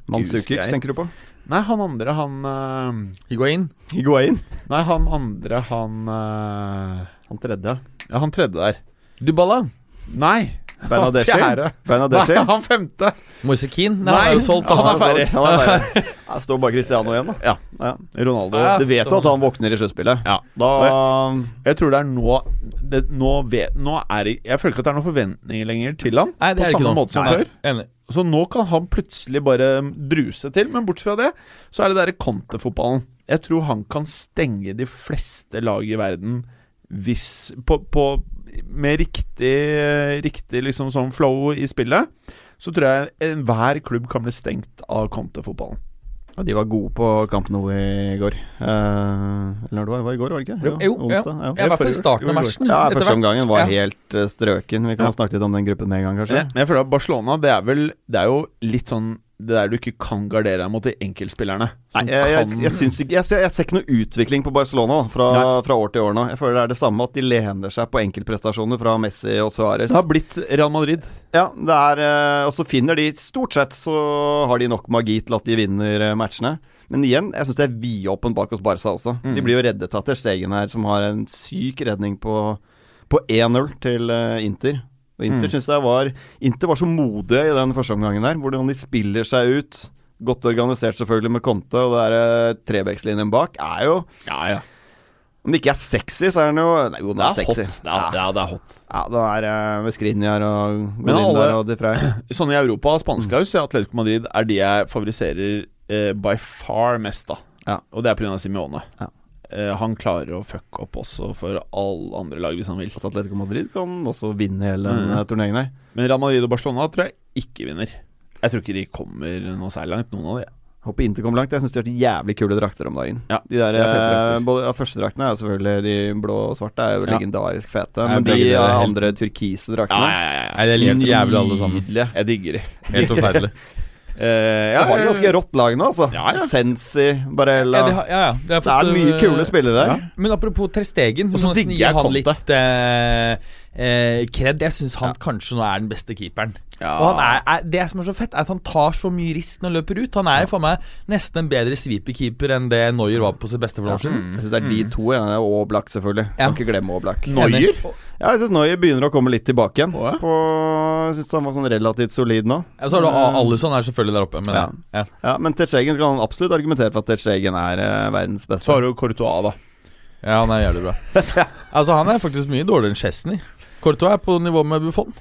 Mansukic,
sjukehusgreier.
tenker du på?
Nei, han andre, han eh,
Higuain.
Higuain.
Nei, han andre, han eh,
Han tredje.
Ja, han tredje der.
Dybala.
Nei!
Bernadeschi.
Han fjerde.
Bernadeschi.
Nei, han femte.
Moise Keane. Nei,
Nei,
han er jo solgt.
han er
Han er
ferdig.
Han er ferdig. Her står bare Cristiano igjen, da.
Ja.
Ja.
Ronaldo.
Ja.
Du vet jo at han våkner i sluttspillet.
Ja.
Da
Jeg tror det er nå det, nå, vet, nå er det- Jeg føler ikke at det er noen forventninger lenger til han.
Nei,
på
det er det ikke
samme
noe.
måte som
Nei,
før.
Enig.
Så nå kan han plutselig bare druse til. Men bortsett fra det, så er det derre Conte-fotballen. Jeg tror han kan stenge de fleste lag i verden hvis på, på, Med riktig, riktig liksom sånn flow i spillet, så tror jeg enhver klubb kan bli stengt av Conte-fotballen.
ja, De var gode på Camp Nou i går. Eh, eller når det var, det var i går, var det ikke?
Jo, ja.
onsdag,
Jeg var i starten av
Jo, i går.
matchen.
Ja,
etter
første
hvert.
omgangen var
Ja.
helt eh, strøken. Vi kan jo
Ja.
snakke litt om den gruppen med en gang, kanskje.
Men jeg, men jeg føler at Barcelona det er vel Det er jo litt sånn det der du ikke kan gardere deg mot de enkeltspillerne.
Nei,
som
jeg, jeg,
kan-
jeg, syns ikke, jeg, ser- jeg ser ikke noe utvikling på Barcelona da, fra,
Nei.
fra år til år nå. Jeg føler det er det samme at de lener seg på enkeltprestasjoner fra Messi og Suárez.
Det har blitt Real Madrid.
Ja, det er eh, Og så finner de Stort sett så har de nok magi til at de vinner eh, matchene. Men igjen, jeg syns det er vidåpent bak hos Barca også.
Mm.
De blir jo reddet av Ter Stegen her, som har en syk redning på, på 1-0 til eh, Inter. Og Inter
Mm.
synes jeg var Inter var så modige i den første omgangen her, hvordan de spiller seg ut. Godt organisert selvfølgelig med Conte, og det er eh, trebekslinjen bak er jo
Ja, ja.
Om det ikke er sexy, så er den jo Nei, jo, den
Det
er,
er hot.
sexy.
Det er,
ja.
ja, det er hot.
ja, den er eh, med Skriniar og
Men
Godin
alle-
der og De Frey.
Sånn i Europa, spansklaus, ja, Atletico Madrid er de jeg favoriserer eh, by far mest, da.
Ja.
Og det er pga. Simione.
Ja.
Eh, han klarer å fucke opp også for alle andre lag hvis han vil.
Altså Atletico Madrid kan også vinne hele den
Mm.
eh, turneringen her.
Men Real Madrid og Barcelona tror jeg ikke vinner. Jeg tror ikke de kommer noe særlig langt, noen av de.
Håper Inter kom langt. Jeg syns de har så jævlig kule drakter om dagen.
Ja,
de der,
det er fete
eh,
drakter.
både, ja, Førstedraktene er selvfølgelig de blå og svarte, er jo
Ja.
legendarisk fete.
Nei,
Men de
begge deler er
eh,
helt-
andre turkise
Ja,
draktene
ja, ja, ja.
Nei, det er litt jævlig alle sammen.
nydelige.
Jeg digger de.
Helt forferdelig.
Så
Eh, ja, eh,
har de ganske rått lag nå, altså.
Ja, ja.
Sensi, Barella
Ja, de har, ja, ja. de har
Det
fått,
eh,
er mye
øh,
kule spillere der.
Men apropos Ter Stegen
Og så
må nesten
digger
gi
jeg
han
Conte.
litt, eh, eh, kred. Jeg syns han kanskje nå er den beste keeperen.
Ja.
Og han er, er, Det som er så fett, er at han tar så mye risk når han løper ut. Han er for meg nesten en bedre sweeperkeeper enn det Neuer var på sitt beste for noen år siden.
Jeg syns det er
Mm.
de to. Ja. Det er Aablak, selvfølgelig.
Ja.
Kan ikke glemme Aablak.
Enig.
Ja, jeg syns Noyer begynner å komme litt tilbake igjen.
Å, ja.
På, jeg syns han var sånn relativt solid nå.
Ja, så har du A- Alisson er selvfølgelig der oppe, men ja.
Ja. Ja, Men Terstegen kan han absolutt argumentere for at Terstegen er eh, verdens beste.
Så har du Courtois, da.
Ja, han er jævlig bra. Altså Han er faktisk mye dårligere enn Chesney. Courtois er på nivå med Buffon.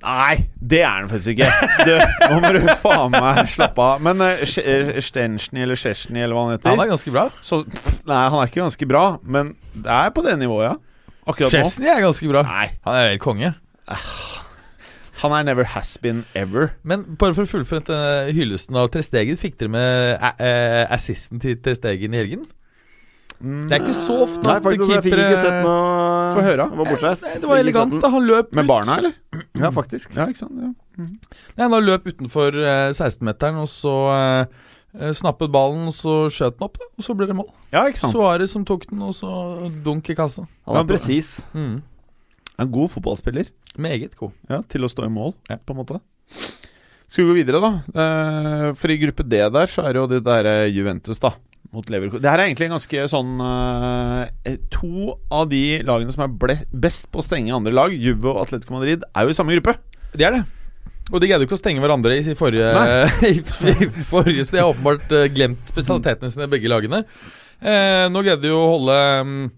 Nei, det er den faktisk ikke. Du, nå må du faen meg slappe av. Men uh, Stensny eller Chesney eller hva han
Han
heter
er ganske bra.
så, Nei, han er ikke ganske bra, men det er på det nivået, ja. Akkurat nå.
Chesney er ganske bra.
Nei,
Han er helt konge.
han er never has been ever.
Men bare for å fullføre denne hyllesten av Trestegen, fikk dere med a- eh, assisten til Trestegen i helgen? Det er ikke så ofte
Mm. Nei,
at
faktisk. Jeg fikk
keepere-
ikke sett noe
Få høre.
Jeg var bortreist.
Nei, Eh, det var
Fikk ikke
elegant.
sett
da, Han løp
Med
ut.
barna, eller?
den. Ja, faktisk.
Ja, ikke sant? Ja.
Nei, han løp utenfor eh, 16-meteren, og så eh, eh, snappet ballen, og så skjøt den opp, da, og så ble det mål.
ja, ikke sant?
Suarez som tok den, og så dunk i kassa.
Han var presis.
Mm.
En god fotballspiller.
Meget god.
Ja, til å stå i mål, på en måte. Skal vi gå videre, da? Eh, For i gruppe D der så er det jo det derre Juventus, da. Mot Leverkusen. Det her er egentlig en ganske sånn eh, To av de lagene som er ble best på å stenge andre lag, Juve og Atletico Madrid, er jo i samme gruppe.
Det er det. Og de greide jo ikke å stenge hverandre i sin forrige, i, i forrige Så de har åpenbart eh, glemt spesialitetene sine, begge lagene. Eh, nå greide de jo å holde mm,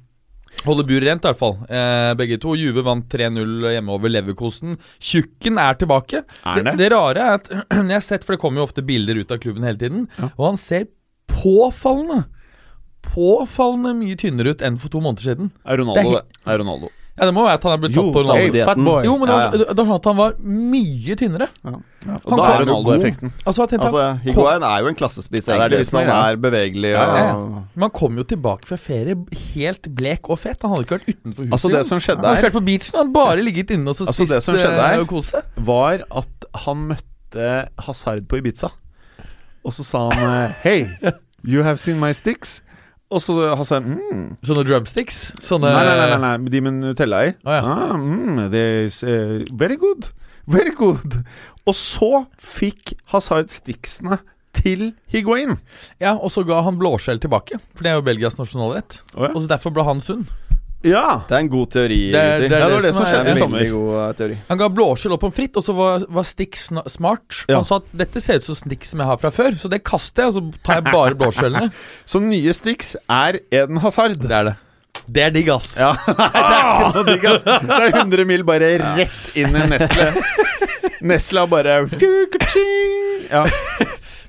Holde bur rent, i hvert fall. Eh, begge to. Juve vant 3-0 hjemme over Leverkosen. Tjukken er tilbake.
Er
det?
det?
det rare er at jeg har sett, for det kommer jo ofte bilder ut av klubben hele tiden, og han ser påfallende Påfallende mye tynnere ut enn for to måneder siden.
Er Oh,
Det
Ronaldo,
er
det. Er Ronaldo.
Ja, Det må være at han er blitt satt på Ronaldo.
Saudi-dietten.
fatboy.
Jo, men det var,
Ja, ja.
det det var sånn at han var mye tynnere.
Og da er du
Det er
god.
Ronaldo-effekten.
Altså, jeg tenkte,
Altså, Higuain er jo en klassespiss,
Ja, det er
egentlig,
det
hvis
som er
man
greia.
er bevegelig
Ja,
og
ja, Man kom jo tilbake fra ferie helt blek og fet. Han hadde ikke vært utenfor huset.
Altså, det som skjedde
han hadde
her-
ikke vært på beachen, han hadde bare ligget inne og så
Altså,
spist
det som skjedde
eh,
her-
og kost seg.
Var at han møtte Hazard på Ibiza, og så sa han eh, Hey, you have seen my sticks? Og så Hazard mm,
Sånne drumsticks. Sånne
Nei, nei, nei, nei, nei. de med Nutella i.
Å, ja.
ah, mm, det is, eh, very good. Very good. Og så fikk Hazard sticksene til Higuain.
Ja, Og så ga han blåskjell tilbake, for det er jo Belgias nasjonalrett.
Å, ja.
Og så Derfor ble han sunn.
Ja!
Det er en god teori.
Det er-
Riktig.
det er
Ja,
det
var
som er-
skjedde i
veldig
sommer. god eh, teori.
Han ga blåskjell og pommes frites, og så var, var Stix sna- smart. For
Ja.
Han sa at dette ser ut som Stix som jeg har fra før, så det kaster jeg, og så tar jeg bare blåskjellene.
Så nye sticks er Eden Hazard.
det er det. Det er digg, ass.
Ja, nei, det er ikke noe digg, ass. Det er 100 mil bare rett inn i Nestle. Nestle har bare ja.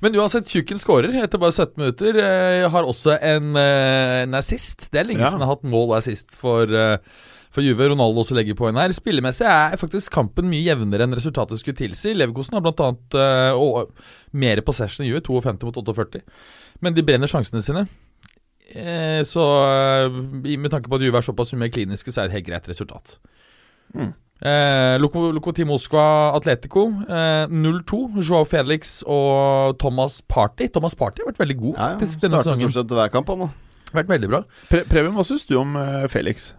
Men uansett, Tjukken skårer etter bare 17 minutter. Eh, har også en, eh, en assist. Det er lenge
Ja.
siden han har hatt mål og assist for, eh, for Juve. Ronaldo også legger på en her. Spillemessig er faktisk kampen mye jevnere enn resultatet skulle tilsi. Leverkosten har bl.a. Eh, og- mer possession enn Juve, 52 mot 48. Men de brenner sjansene sine. Eh, så eh, i- med tanke på at Juve er såpass mye mer kliniske, så er det et helt greit resultat.
Mm.
Eh, Loko- Lokomotiv Moskva Atletico eh, 0-2. Joao Felix og Thomas Party. Thomas Party har vært veldig god
Ja, ja.
faktisk denne
Starter
sesongen.
stort sett hver kamp, han nå.
Vært veldig bra.
Pre Preben, hva syns du om eh, Felix?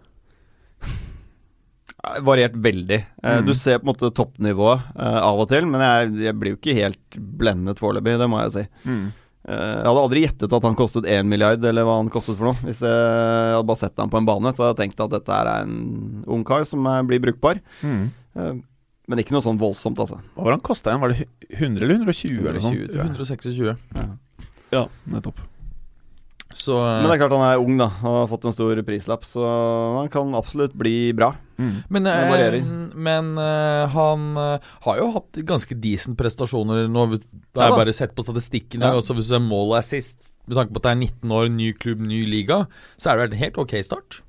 Ja, Variert veldig. Eh, Du ser på en måte toppnivået eh, av og til, men jeg, jeg blir jo ikke helt blendet foreløpig, det må jeg si. Eh, jeg hadde aldri gjettet at han kostet 1 milliard, eller hva han kostet for noe. Hvis jeg hadde bare sett ham på en bane, så hadde jeg tenkt at dette her er en ung kar som eh, blir brukbar.
Mm.
Eh, men ikke noe sånn voldsomt, altså.
Hva var han kosta igjen? Var det 100 eller 120? eller noe sånt?
120, tror jeg.
126.
Ja, nettopp.
Så
Men det
eh,
er klart han er ung, da, og har fått en stor prislapp, så han kan absolutt bli bra.
Men,
det
eh,
varierer.
men eh, han eh, har jo hatt ganske decent prestasjoner nå. hvis- Da har
Ja
jeg
da.
bare sett på statistikken. Ja.
Ja.
Også hvis det er mål og assist, med tanke på at det er 19 år, ny klubb, ny liga, så er det vel en helt ok start.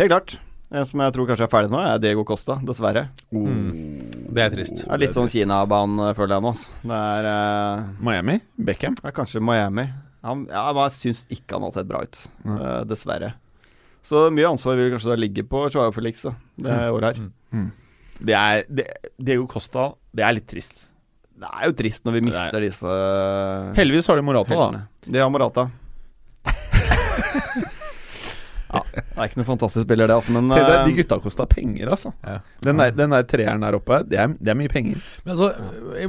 Helt klart. En som jeg tror kanskje er ferdig nå, er Diego Costa, dessverre.
Mm. Det er trist.
Det er litt sånn Kina-banen, føler jeg nå. Altså. Det er eh,
Miami? Beckham?
Ja, kanskje Miami. Han, ja, men jeg syns ikke han har sett bra ut, eh, dessverre. Så mye ansvar vil kanskje da ligge på Joao Felix da, det året her.
Mm. Det er det, Diego Costa Det er litt trist.
Det er jo trist når vi mister disse eh,
Heldigvis har de Morata, da.
De har Morata. Det er ikke noen fantastisk spiller, det, altså, men
Tenk deg, de
eh,
gutta kosta penger, altså.
Ja.
Den, der, den der treeren der oppe, det er, det er mye penger.
Men altså,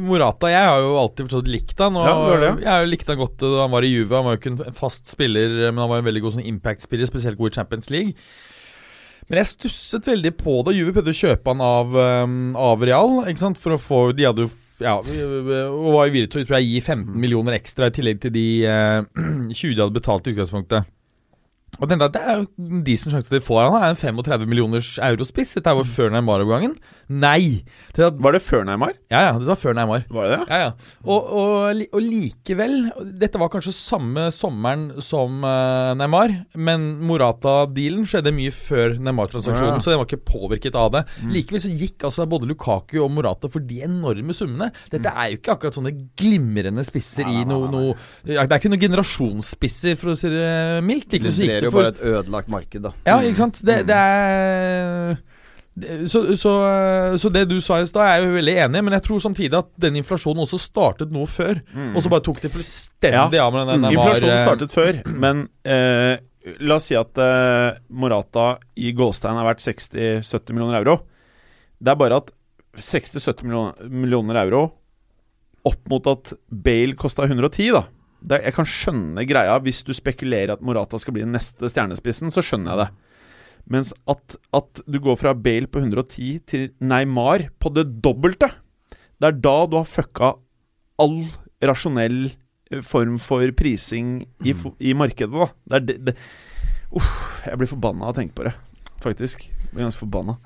Morata Jeg har jo alltid forstått likt han. Og
Ja, du har det, ja.
Jeg har jo likt han godt da han var i Juve. Han var jo ikke en fast spiller, men han var en veldig god sånn impact-spiller, spesielt god i Champions League. Men jeg stusset veldig på da Juve prøvde å kjøpe han av, eh, av Real. Ikke sant? For å få De hadde jo ja, og var i villig til å tror jeg, gi 15 millioner ekstra i tillegg til de eh, 20 de hadde betalt i utgangspunktet. Og tenkte at Det er jo en decent sjanse til de får han. Han er en 35 millioners eurospiss. Dette er jo før Neymar-overgangen. Nei! Til at,
Var det før Neymar?
ja, ja, det var før Neymar.
Var det det?
Ja, ja. Og, og, li- og likevel Dette var kanskje samme sommeren som eh, Neymar, men Morata-dealen skjedde mye før Neymar-transaksjonen,
Ja.
så den var ikke påvirket av det. Likevel så gikk altså både Lukaku og Morata for de enorme summene. Dette er jo ikke akkurat sånne glimrende spisser i noe, noe ja, Det er ikke noen generasjonsspisser, for å si det mildt.
det
Likevel så gikk
illustrerer
det
jo
for
bare et ødelagt marked, da.
ja, ikke sant? Det,
Mm.
det er det- så, så, så det du sa i stad, er jeg jo veldig enig i, men jeg tror samtidig at den inflasjonen også startet noe før.
Mm.
Og så bare tok det fullstendig av med den eh, der
Inflasjonen startet før, men eh, la oss si at eh, Morata i Gåstein er verdt 60-70 millioner euro. Det er bare at 60-70 millioner, millioner euro opp mot at Bale kosta 110, da. Det, jeg kan skjønne greia hvis du spekulerer at Morata skal bli den neste stjernespissen, så skjønner jeg det. Mens at, at du går fra Bale på 110 til Neymar på det dobbelte, det er da du har fucka all rasjonell eh, form for prising i, fo- i markedet, da. Det er det, det. Uff, jeg blir forbanna av å tenke på det, faktisk. Jeg blir ganske forbanna.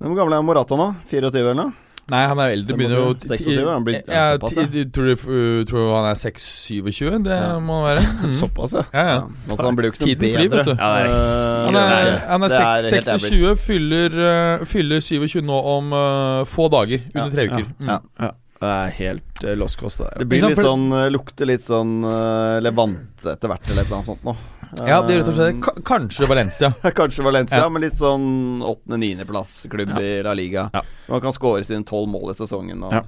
Men Hvor gammel er Morata nå? 24 eller noe?
Nei, han er jo eldre. Begynner jo
26, han blir-
ja,
ja, såpass, ja.
ti- Tror du uh, tror du han er 26-27? Det
Ja.
må han være. Mm.
Såpass,
Ja, ja.
Altså, han blir jo ikke noe
Tiden flyr, vet
bedre.
du.
Eh,
Han er, han er,
det er helt
seks- 26, fyller, uh, fyller 27 nå om uh, få dager. Under
Ja.
tre uker.
Ja.
Mm.
Det er helt uh, lost cost, det der.
Det blir
Liksom,
litt
for-
sånn, eh, lukter litt sånn eh, Levante etter hvert, eller et eller annet sånt nå.
Ja, det er rett og slett ka- Kanskje Valencia.
Eh, Kanskje Valencia,
Ja.
men litt sånn åttende-niendeplass-klubb
Ja.
i La Liga.
Ja.
Man kan skåre sine tolv mål i sesongen. Og,
Ja.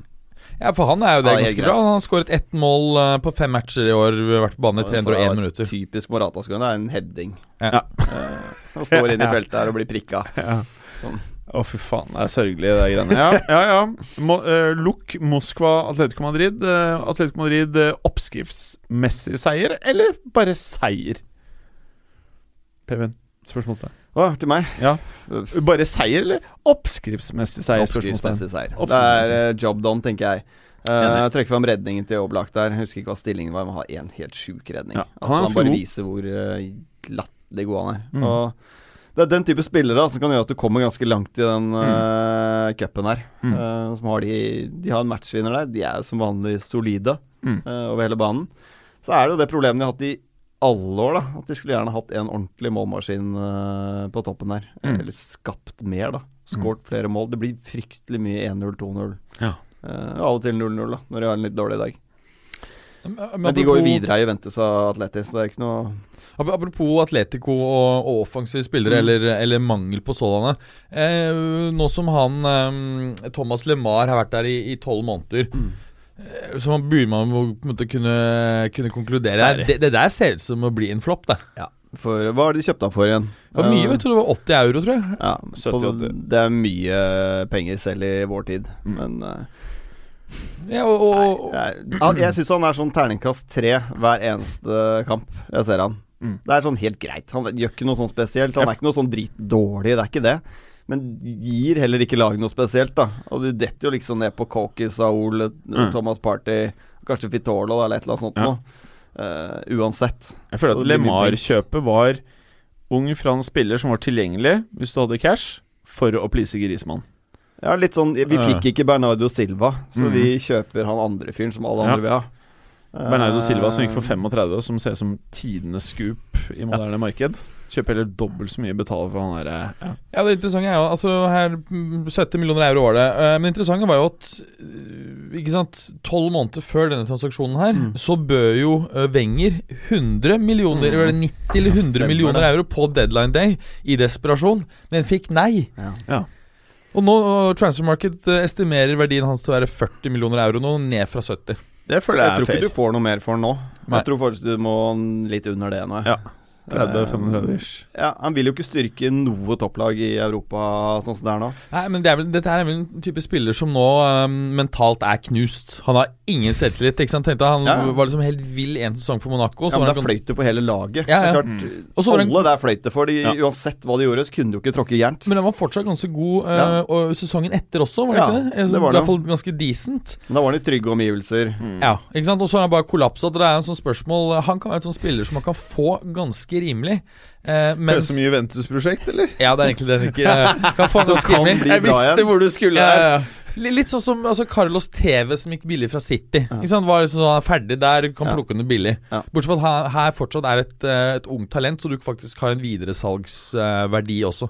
Ja, for han er jo det
Ja, det er
ganske
greit.
bra. Han har skåret ett mål eh, på fem matcher i år. Vært på banen i
og så er
301
det
minutter.
Typisk Morata-skåring. Det er en heading. Eh,
Ja.
Han står inne i feltet her og blir prikka.
Å, fy faen. Det er sørgelig, det greiene. Ja, ja. ja. Mo eh, Luk, Moskva, Atletico Madrid. Eh, Atletico Madrid eh, oppskriftsmessig seier, eller bare seier? Preben, spørsmålstegn.
Å, til meg.
Ja.
Uff.
Bare seier, eller oppskriftsmessig seier? Spørsmålstegn.
Oppskriftsmessig seier. Det
Oppskriftsmessig.
er eh, job done, tenker jeg. Uh, trekker fram redningen til Oblak der. Jeg husker ikke hva stillingen var, men han har en helt sjuk redning.
Ja,
altså,
han er
han,
ganske
bare
god.
viser hvor eh, latterlig god han er.
Mm.
Og det er den type spillere da, som kan gjøre at du kommer ganske langt i den
Mm.
eh, cupen her. Eh, som har de, de har en matchvinner der. De er som vanlig solide
Mm.
eh, over hele banen. Så er det jo det problemet de har hatt i alle år, da. At de skulle gjerne hatt en ordentlig målmaskin eh, på toppen der.
Mm.
Eller skapt mer, da. Skåret
Mm.
flere mål. Det blir fryktelig mye 1-0, 2-0.
Ja.
Eh, og av og til 0-0, da, når de har en litt dårlig dag.
Men, eh,
Men de går jo
apropos-
videre i Juventus og Atleti, så det er ikke noe
ap- Apropos Atletico og, og offensive spillere, eller, eller mangel på sådanne. Eh, nå som han eh, Thomas LeMar har vært der i tolv måneder eh, så man begynner man å på en måte kunne, kunne konkludere her. Det, det der ser ut som å bli en flopp, det.
For hva har de kjøpt han for igjen? Eh,
Det var mye, vet du. Det var 80 euro, tror jeg.
Ja,
70-80.
på, det er mye penger selv i vår tid,
Mm.
men eh,
Ja, og, og, og,
Jeg, jeg syns han er sånn terningkast tre hver eneste kamp jeg ser han.
Mm.
Det er sånn helt greit. Han gjør ikke noe sånn spesielt. Han er ikke noe sånn dritdårlig, det er ikke det. Men gir heller ikke laget noe spesielt, da. Og du detter jo liksom ned på Coker, Saul, Thomas Party, kanskje Fitolo eller et eller annet sånt
Mm. Ja.
noe. Eh, uansett.
Jeg føler
Så
at
det blir mye
LeMar-kjøpet var ung fransk spiller som var tilgjengelig, hvis du hadde cash, for å please Grismann.
Ja, litt sånn Vi fikk ikke Bernardo Silva, så
Mm.
vi kjøper han andre fyren som alle
Ja.
andre vil ha. Eh,
Bernardo Silva som gikk for 35, som ser ut som tidenes scoop i moderne marked. Kjøper heller dobbelt så mye betalt for han eh, derre ja.
Ja, det interessante er jo altså her, mm, 70 millioner euro var det. eh, Men det interessante var jo at eh, ikke sant, 12 måneder før denne transaksjonen her, så bød jo eh, Wenger 100 millioner, eller 90 eller 100 millioner euro på deadline day i desperasjon, men fikk nei.
Ja.
Ja.
Og nå eh, Transfer Market eh, estimerer verdien hans til å være 40 millioner euro nå, ned fra 70.
Det føler
Jeg
jeg
tror
er
ikke
fair.
du får noe mer for den nå.
Nei.
Jeg tror faktisk du må litt under det nå. jeg.
Ja. 30-35-ish.
Ja, han vil jo ikke styrke noe topplag i Europa sånn som det er nå.
Nei, men det er vel, Dette her er vel en type spiller som nå øhm, mentalt er knust. Han har ingen selvtillit. ikke sant? Tenkte Han
Ja, ja.
var liksom helt vill en sesong for Monaco.
Ja, men
var
det
han
er
ganske-
fløyte for hele laget.
Ja, ja.
Det er klart,
Mm.
Og så var han-
Alle det er fløyte for. De, Uansett hva de gjorde, så kunne de jo ikke tråkke gærent.
men han var fortsatt ganske god øh,
Ja.
og sesongen etter også, var det
Ja,
ikke det? Jeg-
det var det. Mm.
I hvert fall ganske decent.
Men da var han i trygge omgivelser.
Mm.
Ja, ikke sant? Og så har han bare kollapsa. Det er en sånn spørsmål Han kan være en sånn spiller som man kan få ganske rimelig. Eh, mens,
Høres ut som Juventus-prosjekt, eller?
ja, det er egentlig det han ikke eh, kan få ganske
kan
rimelig.
bli bra igjen.
hvor du skulle.
Ja, ja, ja. Li- Litt sånn som altså, Carlos TV som gikk billig fra City. Ikke sant? Var liksom sånn, han er ferdig der, kan
Ja.
plukke henne billig.
Ja.
Bortsett fra at her, her fortsatt er et, eh, et ungt talent, så du faktisk har en videresalgsverdi også.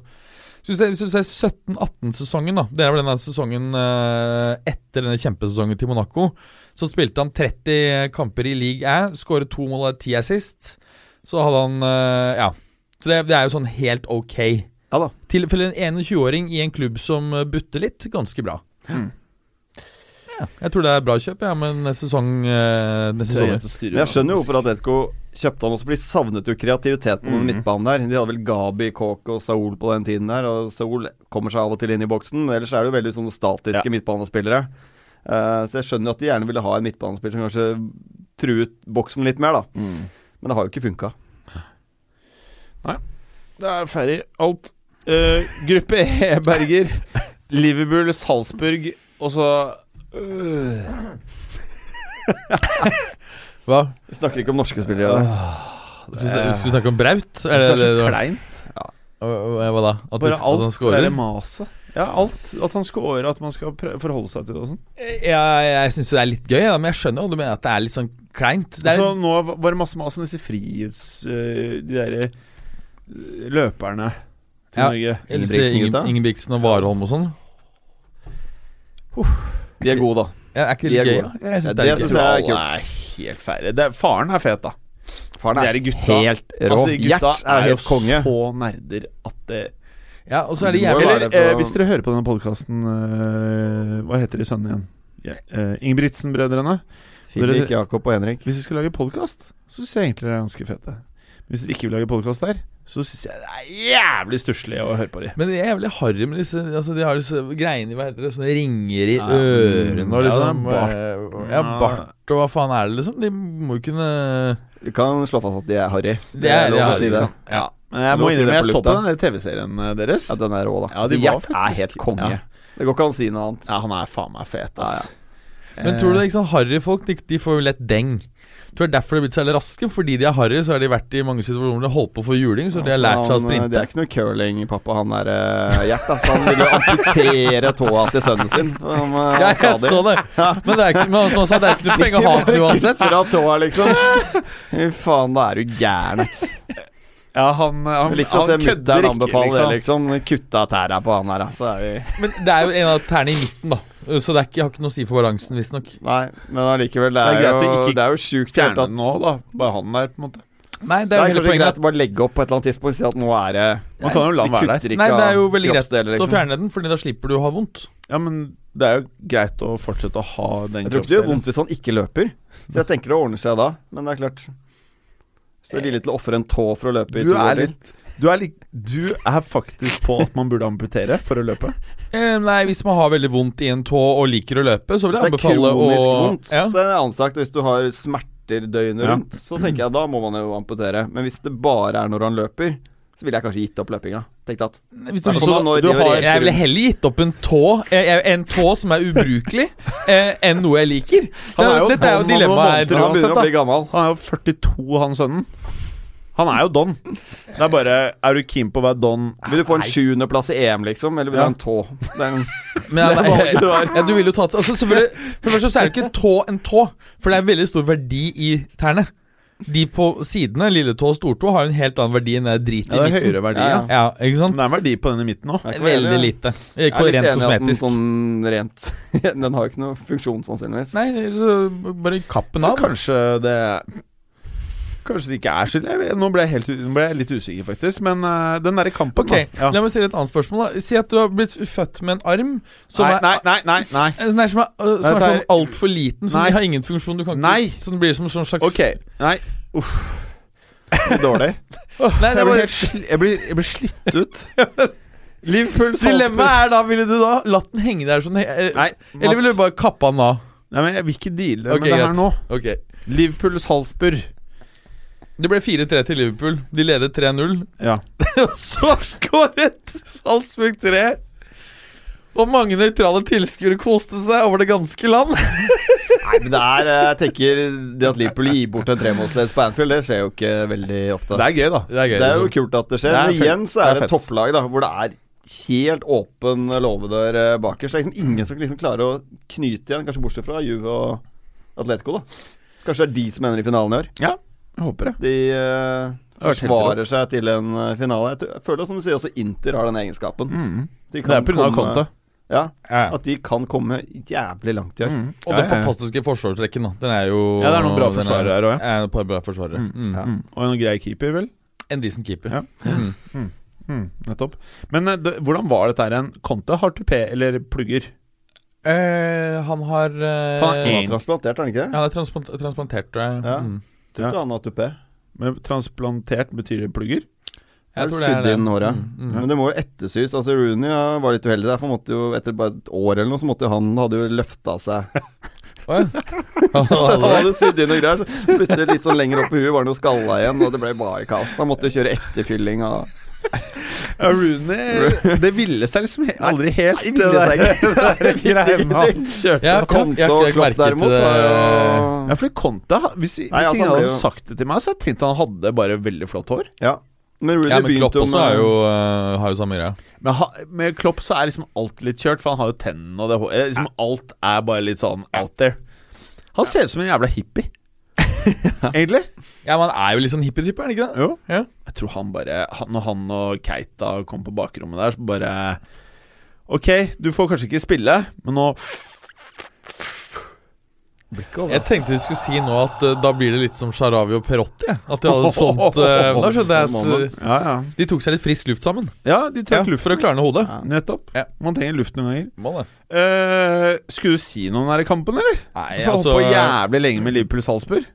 Så hvis du ser- hvis du ser 17-18-sesongen, da det er vel den der sesongen eh, etter denne kjempesesongen til Monaco, så spilte han 30 kamper i league A, skåret to mål og ti assist. Så hadde han eh, Ja. Så det, det er jo sånn helt ok.
Ja da.
Til, for en 21-åring i en klubb som eh, butter litt, ganske bra.
Mm.
Ja, jeg tror det er bra kjøp, ja, men neste sesong eh, Neste sesong
Men jeg skjønner jo hvorfor Atletico kjøpte han også, for de savnet jo kreativitet på den midtbanen der. De hadde vel Gabi, Kåk og Saul på den tiden der, og Saul kommer seg av og til inn i boksen. Men ellers er det jo veldig sånne statiske midtbanespillere. Eh, så jeg skjønner jo at de gjerne ville ha en midtbanespiller som kanskje truet boksen litt mer, da. Men det har jo ikke funka.
Det er ferdig. Alt. Eh, gruppe E, Berger. Liverpool, Salzburg, og så Øh.
Hva?
Vi snakker ikke om norske spillere.
Øh.
Skal vi snakke om Braut? Er det, det, det,
kleint.
og- og hva da? At,
Bare
det- at han
alt det
scorer?
derre maset. Ja, alt. At han scorer, at man skal prø- forholde seg til det og sånn.
Eh, Ja, jeg syns det er litt gøy, ja, men jeg skjønner jo du mener at det er litt sånn kleint. Det er,
Altså,
Så Altså, nå var det masse mas om disse frihets... eh, de derre eh, løperne til
Ja.
Norge.
disse
Ingebrigtsen-gutta?
Inge- Ingebrigtsen og Warholm og sånn.
De er gode, da.
Ja, er ikke
De
det
er
litt gøy?
gode.
Ja, jeg
Ja,
synes det er
det
litt
synes
gøy.
jeg er
Alle
kult.
er helt ferdig. Det er, faren er fet, da.
Faren
de
er
er gutta.
helt rå.
Altså, de gutta
Gjert er
er jo
helt konge.
så nerder at det
Ja, og så er det
Du må jo
jævlig
være-
Eller,
det for
eh,
å-
hvis dere hører på denne podkasten Hva heter de sønnene igjen? Ja, eh, Ingebrigtsen-brødrene.
Filip, Jakob og Henrik.
Hvis vi skal lage podkast, så syns jeg egentlig dere er ganske fete. Men hvis dere ikke vil lage podkast der, så syns jeg det er jævlig stusslig å høre på de.
Men det er jævlig harry med disse altså De har disse greiene Hva heter det? Sånne ringer i
Ja.
ørene og
Ja,
liksom
det er bart.
eh, Ja, bart og hva faen er det, liksom? De må jo kunne
Vi kan slå fast at de er harry.
Det er
lov å
harry,
si det.
liksom. Ja.
Men jeg
Lov
må
å si det
innrømme, jeg
på
så på
lufta.
den der TV-serien eh, deres.
Ja, den er rå, da.
Ja, de
Altså,
var
Gjert er
faktisk-
helt konge.
ja.
Det går ikke an å si noe annet.
Ja, han er faen meg fet, ass.
Men tror du det ikke sånn harry folk, de, de får jo lett deng. Tror det er derfor de har blitt så jævlig raske. Fordi de er harry, så har de vært i mange situasjoner hvor de har holdt på å få juling, så de har lært seg å
Han, eh, Det
sprinte.
er ikke noe curlingpappa, han der eh, Gjert. Altså, han ville amputere tåa til sønnen sin. Han, eh,
Ja,
han
jeg så det. Men det er ikke, men han sa, det er ikke noe poeng å ha det uansett.
Fra tåa, liksom. Fy faen, da er du gæren.
Ja, han, han,
Jeg likte å se
han kødder
mutter'n
ikke,
anbefale det,
liksom.
liksom. Kutta tæra på han her, da, så er vi
Men det er jo en av tærne i midten, da. Så det er ikke, har ikke noe å si for balansen, visstnok.
Nei, men allikevel, det er,
Det er greit
jo,
å ikke
det er jo sjukt i det hele
Fjerne
tatt.
den nå, da. Bare han der, på en måte.
Nei,
Det
det
er
er jo hele
kanskje
poenget.
greit å bare legge opp på et eller annet tidspunkt og si at nå er det
Man kan jo la
Vi
han være der.
kutter ikke
Nei, det er jo
av
veldig greit
kroppsdeler,
å
liksom.
fjerne den, Fordi da slipper du å ha vondt.
Ja, men det er jo greit å fortsette å ha den
Jeg tror ikke det gjør vondt hvis han ikke løper. Så jeg tenker det ordner seg da. Men det er klart Hvis du er villig til å ofre en tå for å løpe i
Du
to
er
år til.
litt du er, litt, du er faktisk på at man burde amputere for å løpe.
Eh, nei, hvis man har veldig vondt i en tå og liker å løpe, så vil
Hvis det
jeg
er
anbefale å
kronisk vondt,
ja.
så er det en annen sak. Hvis du har smerter døgnet
Ja.
rundt, så tenker jeg da må man jo amputere. Men hvis det bare er når han løper, så ville jeg kanskje gitt opp løpinga. Tenkt at
Hvis du,
Da
så,
kommer han og
du
river
har,
helt
jeg ville
rundt.
heller gitt opp en tå eh, eh, En tå som er ubrukelig, eh, enn noe jeg liker.
Han er jo
Dette er jo
don, han må
dilemmaet
vånte
her.
han begynner
uansett, da.
å bli gammel.
Han er jo 42, han sønnen. Han er jo don. Det er bare Er du keen på å være don?
Vil du få en sjuendeplass i EM, liksom? Eller vil du
Ja.
ha en tå? Det er en,
Men, ja, nei,
valget du har.
ja, du vil jo ta til altså, selvfølgelig- For det første så er det ikke tå en tå, for det er veldig stor verdi i tærne. De på sidene, lille tå og stortå, har jo en helt annen verdi enn det dritet i midten.
verdi,
Ja, ja.
Ja, ikke
Men
sant?
det er en verdi på den i midten òg.
Jeg er ikke
Veldig
enig.
lite. Eh,
Jeg er litt enig
Rent
i at den
kosmetisk.
sånn rent Den har jo ikke noe funksjon, sannsynligvis.
Nei, så bare kapp den av.
Kanskje det Kanskje det ikke er så jeg vet- Nå ble jeg, helt, u- nå ble jeg litt usikker, faktisk. Men eh, den derre kampen
Ok,
da.
La
Ja.
meg stille et annet spørsmål. da Si at du har blitt født med en arm som
Nei,
er
nei, nei, nei, nei.
Eh, Nei, som er, øh, som er
Dette
sånn
er-
altfor liten, så
Nei.
den har ingen funksjon. Du kan ikke,
Nei.
Så den blir som en sånn slags
Ok. Nei. Uff.
dårlig.
Nei, det
Jeg blir,
var
helt sli, jeg, blir, jeg blir slitt ut. Liverpool
Dilemmaet er da, ville du da latt den henge der sånn eh,
Nei,
Eller ville du bare kappa den av?
Nei, men jeg vil ikke deale
Ok,
med det her
greit.
nå.
Ok
Liverpool-Salzburg.
Det ble 4-3 til Liverpool. De ledet 3-0.
Ja.
Og så skåret Salzburg 3. Og mange nøytrale tilskuere koste seg over det ganske land.
Nei, men det er eh, Jeg tenker det at Liverpool gir bort en tremålsledelse på Anfield, det skjer jo ikke veldig ofte.
Det er gøy, da.
Det er gøy. liksom.
Det er jo kult at det skjer.
Det er
Men
fett.
igjen så
Det er
er det et
fett.
topplag da hvor det er helt åpen låve der eh, bakerst. Det er liksom ingen som liksom klarer å knyte igjen, kanskje bortsett fra Juve og Atletico. da Kanskje det er de som ender i finalen i år.
Jeg håper det.
De eh,
har vært helt
forsvarer seg til en eh, finale. Jeg, tror, jeg føler som du sier også Inter har den egenskapen. De
Mm. Det er pga. Conte.
Ja,
Ja.
at de kan komme jævlig langt i år.
Og
Ja, ja, ja.
den fantastiske forsvarsrekken, da. Den er jo
Ja, det er noen bra
den
forsvarere her også,
Ja, et par bra forsvarere. Mm.
Ja.
Mm. Og en grei keeper, vel?
En decent keeper.
Ja.
Mm.
Mm, nettopp. Men eh, det, hvordan var dette her igjen? Conte har tupé eller plugger?
Eh, han har eh,
Faen,
Han
en-
ja,
har transplantert, har han ikke det?
det er transplant transplantert, tror jeg.
Ja.
Mm.
Tror ikke han har tupé.
Men transplantert betyr det plugger?
Jeg
Har
tror det er
sydd
det.
inn håret.
Mm, mm.
Men det må jo ettersys. Altså Rooney ja, var litt uheldig der, for han måtte jo etter bare et år eller noe, så måtte jo han hadde jo løfta seg.
Å, ja.
Så han
Alle-
hadde sydd inn og greier. Så plutselig litt sånn lenger opp i huet var han jo skalla igjen, og det ble bare kaos. Han måtte jo kjøre etterfylling av
Ja, Rooney Det ville seg liksom he- aldri helt,
Nei, ville seg ikke.
greiene han kjørte. eh,
Ja,
Kom
jeg
til
har
å
ikke lagt merke
kloppe derimot.
til det.
Ja,
var jo-
fordi Conte ha- Hvis, hvis
Nei, altså,
ingen
han ble
hadde
jo-
sagt det til meg, så hadde jeg tenkt han hadde bare veldig flott hår.
Ja. Men
Ja,
Rooney
men Klopp
begynte jo
også er
med
jo, eh, har jo samme greia.
Men ha, med Klopp så er liksom alt litt kjørt, for han har jo tennene og det hå- eh, liksom Alt er bare litt sånn out there. Han ser ut som en jævla hippie. Egentlig.
Ja, men han er jo litt sånn hippietype, er han ikke det?
Jo.
Ja.
Jeg tror han bare han- Når han og Keita kom på bakrommet der, så bare Ok, du får kanskje ikke spille, men nå
Jeg tenkte de skulle si nå at eh, da blir det litt som Sharawi og Perotti. jeg. At de hadde et sånt eh, Da
Sånn
skjønte jeg at eh,
Ja, ja.
de tok seg litt frisk luft sammen.
Ja, de
Ja,
trakk luft.
for å klarne hodet.
Nettopp.
Ja.
Man trenger luft noen ganger.
Må det.
Eh, skulle du si noe om den her kampen, eller?
Nei,
Jeg har
altså
holdt på jævlig lenge med Liverpool-Salzburg.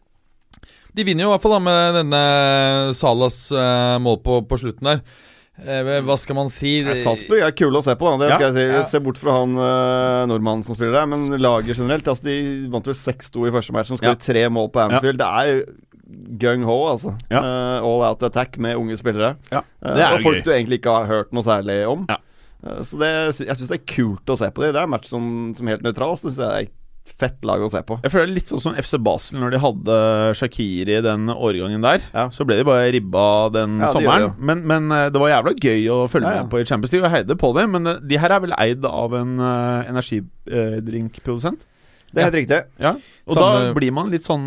De vinner jo i hvert fall da med denne Salas eh, mål på, på slutten der. Eh, hva skal man si?
Nei, Salzburg er kule å se på, da. Det
Ja.
skal jeg si.
Ja.
Se bort fra han eh, nordmannen som spiller der, men laget generelt. Altså, de vant vel 6-2 i første match, som skåret tre mål på Anfield. Det er gung-ho, altså.
Ja.
Eh, all out attack med unge spillere.
Ja.
Eh,
Det er
og folk
gøy.
du egentlig ikke har hørt noe særlig om.
Ja.
Eh, så det, sy- jeg syns det er kult å se på dem. Det er en match som, som helt nøytral, så syns jeg det er fett lag å se på.
Jeg føler det er litt sånn som FC Basel når de hadde Shakiri den årgangen der.
Ja.
Så ble de bare ribba den
Ja, de
sommeren.
gjorde det.
Men, men eh, det var jævla gøy å følge
Ja, ja.
med på i Champions League. Og jeg heide på det, men eh, de her er vel eid av en eh, energidrinkprodusent.
Det er helt riktig.
Ja. Og
Samme-
da blir man litt sånn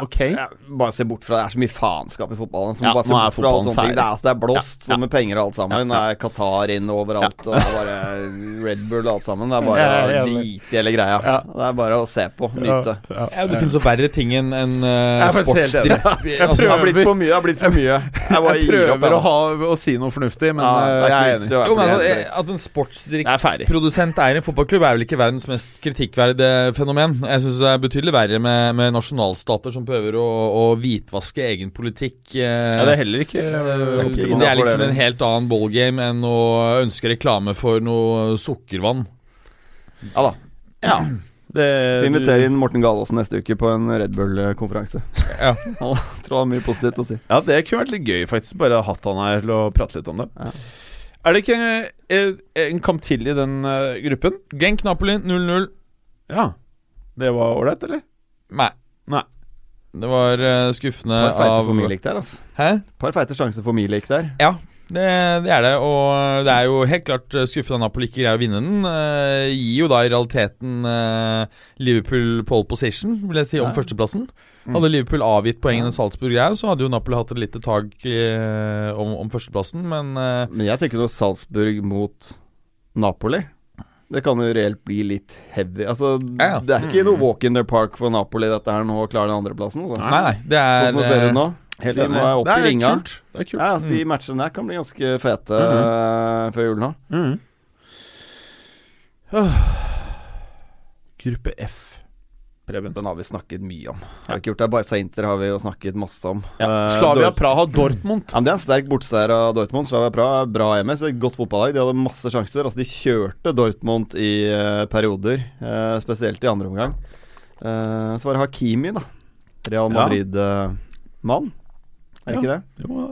ok.
Ja, bare se bort fra Det er så mye faenskap i fotballen. Som
Ja,
bare se
nå er
bort fra alle
fotballen
sånne ting.
ferdig.
Det er, altså, det er blåst
Ja, ja.
som med penger og alt sammen.
Ja,
Det er Qatar inn overalt, og det er bare Red Bull og alt sammen. Det er bare
Ja, jeg er enig.
drit i hele greia.
Ja.
Det er bare å se på, nyte.
Ja, det finnes jo verre ting enn enn, eh,
Jeg er faktisk helt enig.
sportsdripp.
Det
Altså,
har blitt for mye. Det har blitt for mye. Jeg bare
Jeg
gir opp.
prøver
jeg, da.
å, ha, å si noe fornuftig, men
Ja,
eh,
det er
jeg
ikke
er
vits
enig.
i å
jo,
være
men
politisk
altså, eh,
korrekt.
at en sportsdrikk
Jeg er ferdig.
Produsent eier en fotballklubb er vel ikke verdens mest kritikkverdige fenomen. Jeg syns det er betydelig verre med, med nasjonalstater som prøver å, å hvitvaske egen politikk. eh,
Ja, det er heller ikke
eh,
ikke
det er
innenfor
liksom
det.
en helt annen ballgame enn å ønske reklame for noe sukkervann.
Ja da.
Ja. Det,
Vi inviterer inn Morten Galaasen neste uke på en Red Bull-konferanse.
Ja.
Han tror han har mye positivt å si.
Ja, det kunne vært litt gøy, faktisk. Bare hatt han her til å prate litt om det. Er det ikke en, en kamp til i den eh, gruppen?
Genk Napoli 0-0.
Ja. Det var ålreit, eller?
Nei.
Nei.
Det var eh, skuffende
Par feite
av
for mye lik der, altså.
Hæ?
Par feite sjanser for mye lik der.
Det, det er det, og eh, det er jo helt klart skuffende at Napoli ikke greier å vinne den. Eh, gir jo da i realiteten eh, Liverpool pole position, vil jeg si, om
Ja.
førsteplassen.
Mm.
Hadde Liverpool avgitt poengene Salzburg greier, så hadde jo Napoli hatt et lite tak eh, om, om førsteplassen, men eh,
Men jeg tenker nå Salzburg mot Napoli. Det kan jo reelt bli litt heavy. Altså,
Ja, ja.
Det er ikke noe walk in the park for Napoli, dette her nå, å klare den andreplassen. Altså.
Nei, nei, det er eh,
Sånn som det ser ut nå.
Helt
Vi må være opp
Det
i
er
ringa.
kult. Det er kult.
Ja, altså, de matchene der kan bli ganske fete eh, før jul nå.
Mhm. Åh. Gruppe F.
Preben?
Den har vi snakket mye om. Har vi ikke gjort det? Barca Inter har vi jo snakket masse om.
Ja.
Eh,
Slavia
Dort-
Praha Dortmund.
ja, men Det er en sterk bortseier av Dortmund. Slavia Praha, bra MS, et godt fotballag. De hadde masse sjanser. Altså, de kjørte Dortmund i eh, perioder, eh, spesielt i andre omgang. Eh, så var det Hakimi, da. Real
Ja.
Madrid-mann. er det ikke det?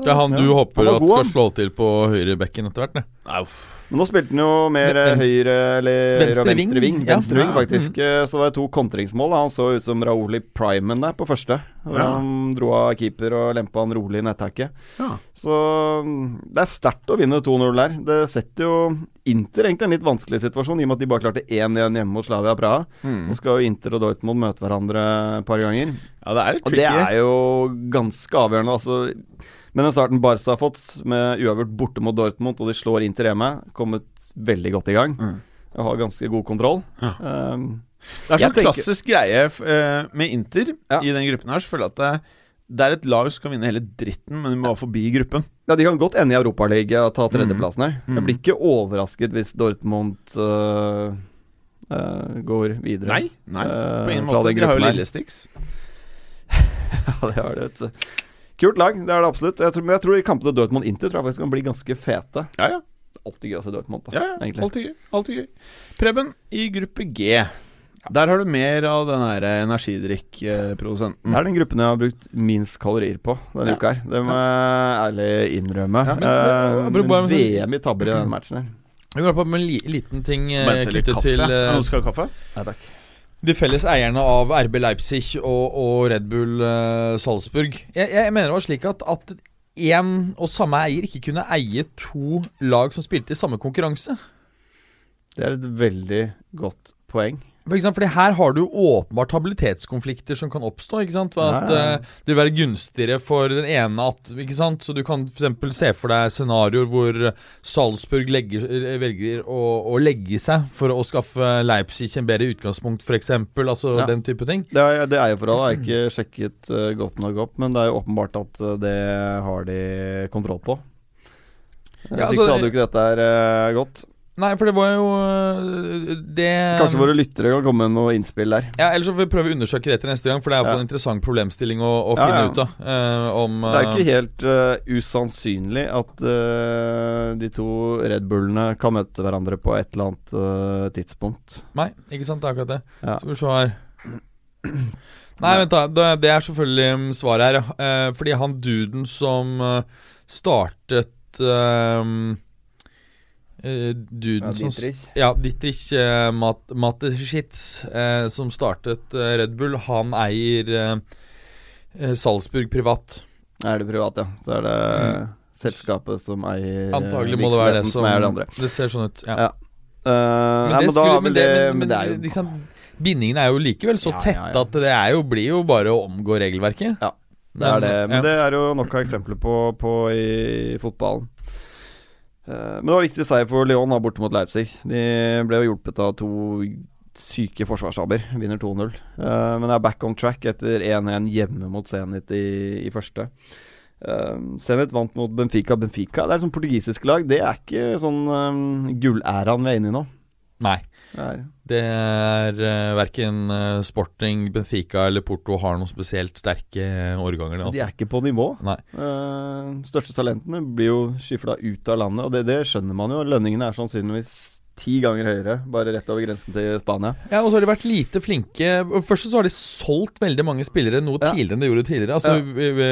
Det er han du
Ja.
håper
Han var
at
god,
skal
han.
slå til på høyrebekken etter hvert? ne?
Men nå spilte han jo mer eh,
Venstre-
høyre eller
Venstre
venstre venstre
ving,
ving,
ja.
venstre ving
Ja.
faktisk.
Mm.
Eh, Så var det to kontringsmål. da. Han så ut som Raoul i primen der på første. Hvor
Ja.
Han dro av keeper og lempa han rolig i nettaket.
Ja.
Så mm, det er sterkt å vinne 2-0 der. Det setter jo Inter egentlig i en litt vanskelig situasjon, i og med at de bare klarte 1-1 hjemme mot Slavia Praha.
Mm.
Nå skal jo Inter og Dortmund møte hverandre et par ganger.
Ja, det er litt
Og det
tricky.
er jo ganske avgjørende. Altså, med den starten Barca har fått, med uavgjort borte mot Dortmund, og de slår Inter hjemme, kommet veldig godt i gang. Og har ganske god kontroll. Um,
Det er
Jeg
sånn
tenker-
klassisk greie f- eh, med Inter
Ja.
i den gruppen her. Så føler jeg at det, det er et lag som kan vinne hele dritten, men de må være forbi gruppen.
ja, De kan godt ende i Europaligaen
Mm.
og ta tredjeplassen her. Jeg blir ikke overrasket hvis Dortmund øh, øh, går videre.
Nei, nei
Eh,
på ingen
fra
måte.
den
De har jo
gruppen her.
Lillestix.
Ja, det er det. Et øh, kult lag, det er det absolutt. Jeg tror, men jeg tror i kampene Dortmund-Inter tror jeg faktisk kan bli ganske fete.
Ja, ja.
Alltid gøy å se Dortmund, da.
ja, ja.
egentlig.
Alltid gøy. Alltid gøy. Preben, i gruppe G. Der har du mer av den her
eh,
energidrikkprodusenten.
Det er den gruppen jeg har brukt minst kalorier på denne
Ja.
uka. her Det må jeg ærlig innrømme.
Ja,
Ja,
men-
men- men- bare-
VM i tabber i denne matchen her.
Jeg går på med en li liten ting eh,
Venter litt
knyttet
kaffe.
til
Til,
eh,
Noen skal ha kaffe?
Nei takk.
de felles eierne av RB Leipzig og, og Red Bull eh, Salzburg. Jeg, jeg mener det var slik at, at én og samme eier ikke kunne eie to lag som spilte i samme konkurranse.
Det er et veldig godt poeng.
For eksempel, fordi her har du åpenbart habilitetskonflikter som kan oppstå. ikke sant? At
Ja, ja.
eh, det vil være gunstigere for den ene at ikke sant? Så du kan f.eks. se for deg scenarioer hvor Salzburg legger, eh, velger å, å legge seg for å skaffe Leipzig en bedre utgangspunkt, f.eks. Altså
Ja.
den type ting.
Det, er, det eierforholdet har jeg ikke sjekket eh, godt nok opp, men det er jo åpenbart at eh, det har de kontroll på. Eh,
Ja,
Hvis
altså,
ikke så hadde jo ikke dette her eh, gått.
Nei, for det var jo øh, det
Kanskje våre lyttere kan komme med noe innspill der.
Ja, Ellers så får vi prøve å undersøke det til neste gang, for det er i hvert fall en interessant problemstilling å, å
Ja,
finne
ja.
ut av. øh, om
Det er jo
øh,
ikke helt eh, usannsynlig at eh, de to Red Bullene kan møte hverandre på et eller annet eh, tidspunkt.
Nei, ikke sant. Det er akkurat det.
Ja.
Skal vi se her Nei, vent, da. Det, det er selvfølgelig mm, svaret her, ja. Eh, fordi han duden som eh, startet eh, eh, duden som s- Ja, Dietrich eh, Mat Mateschitz, eh, som startet eh, Red Bull, han eier eh, eh, Salzburg privat.
Er det privat, ja. Så er det selskapet som eier eh,
Antagelig må det være det
virksomheten
som,
eier det andre.
Det ser sånn ut, ja.
Ja. Eh, nei, men da
skulle-
har vel det
men-
Men det er jo
men liksom, Bindingen er jo likevel så
Ja,
tett
ja, ja.
at det er jo, blir jo bare å omgå regelverket.
Ja, det er det. Men
ja.
det er jo nok av eksempler på, på i fotballen. Eh, men det var viktig seier for Lyon da, borte mot Leipzig. De ble jo hjulpet av to syke forsvarsstaber. Vinner 2-0. Eh, men det er back on track etter 1-1 hjemme mot Zenit i, i første. Eh, Zenit vant mot Benfica. Benfica det er et sånt portugisisk lag. Det er ikke sånn um, gullæraen vi er inne i nå.
Nei.
Det er
Det er uh, verken eh, Sporting, Benfica eller Porto har noen spesielt sterke årganger.
Men
Altså.
De er ikke på nivå.
Nei.
Eh, største talentene blir jo skifla ut av landet, og det, det skjønner man jo. Lønningene er sannsynligvis ti ganger høyere, bare rett over grensen til Spania.
Ja, og så har de vært lite flinke. Først så har de solgt veldig mange spillere noe
Ja.
tidligere enn de gjorde tidligere. Altså, vi, vi,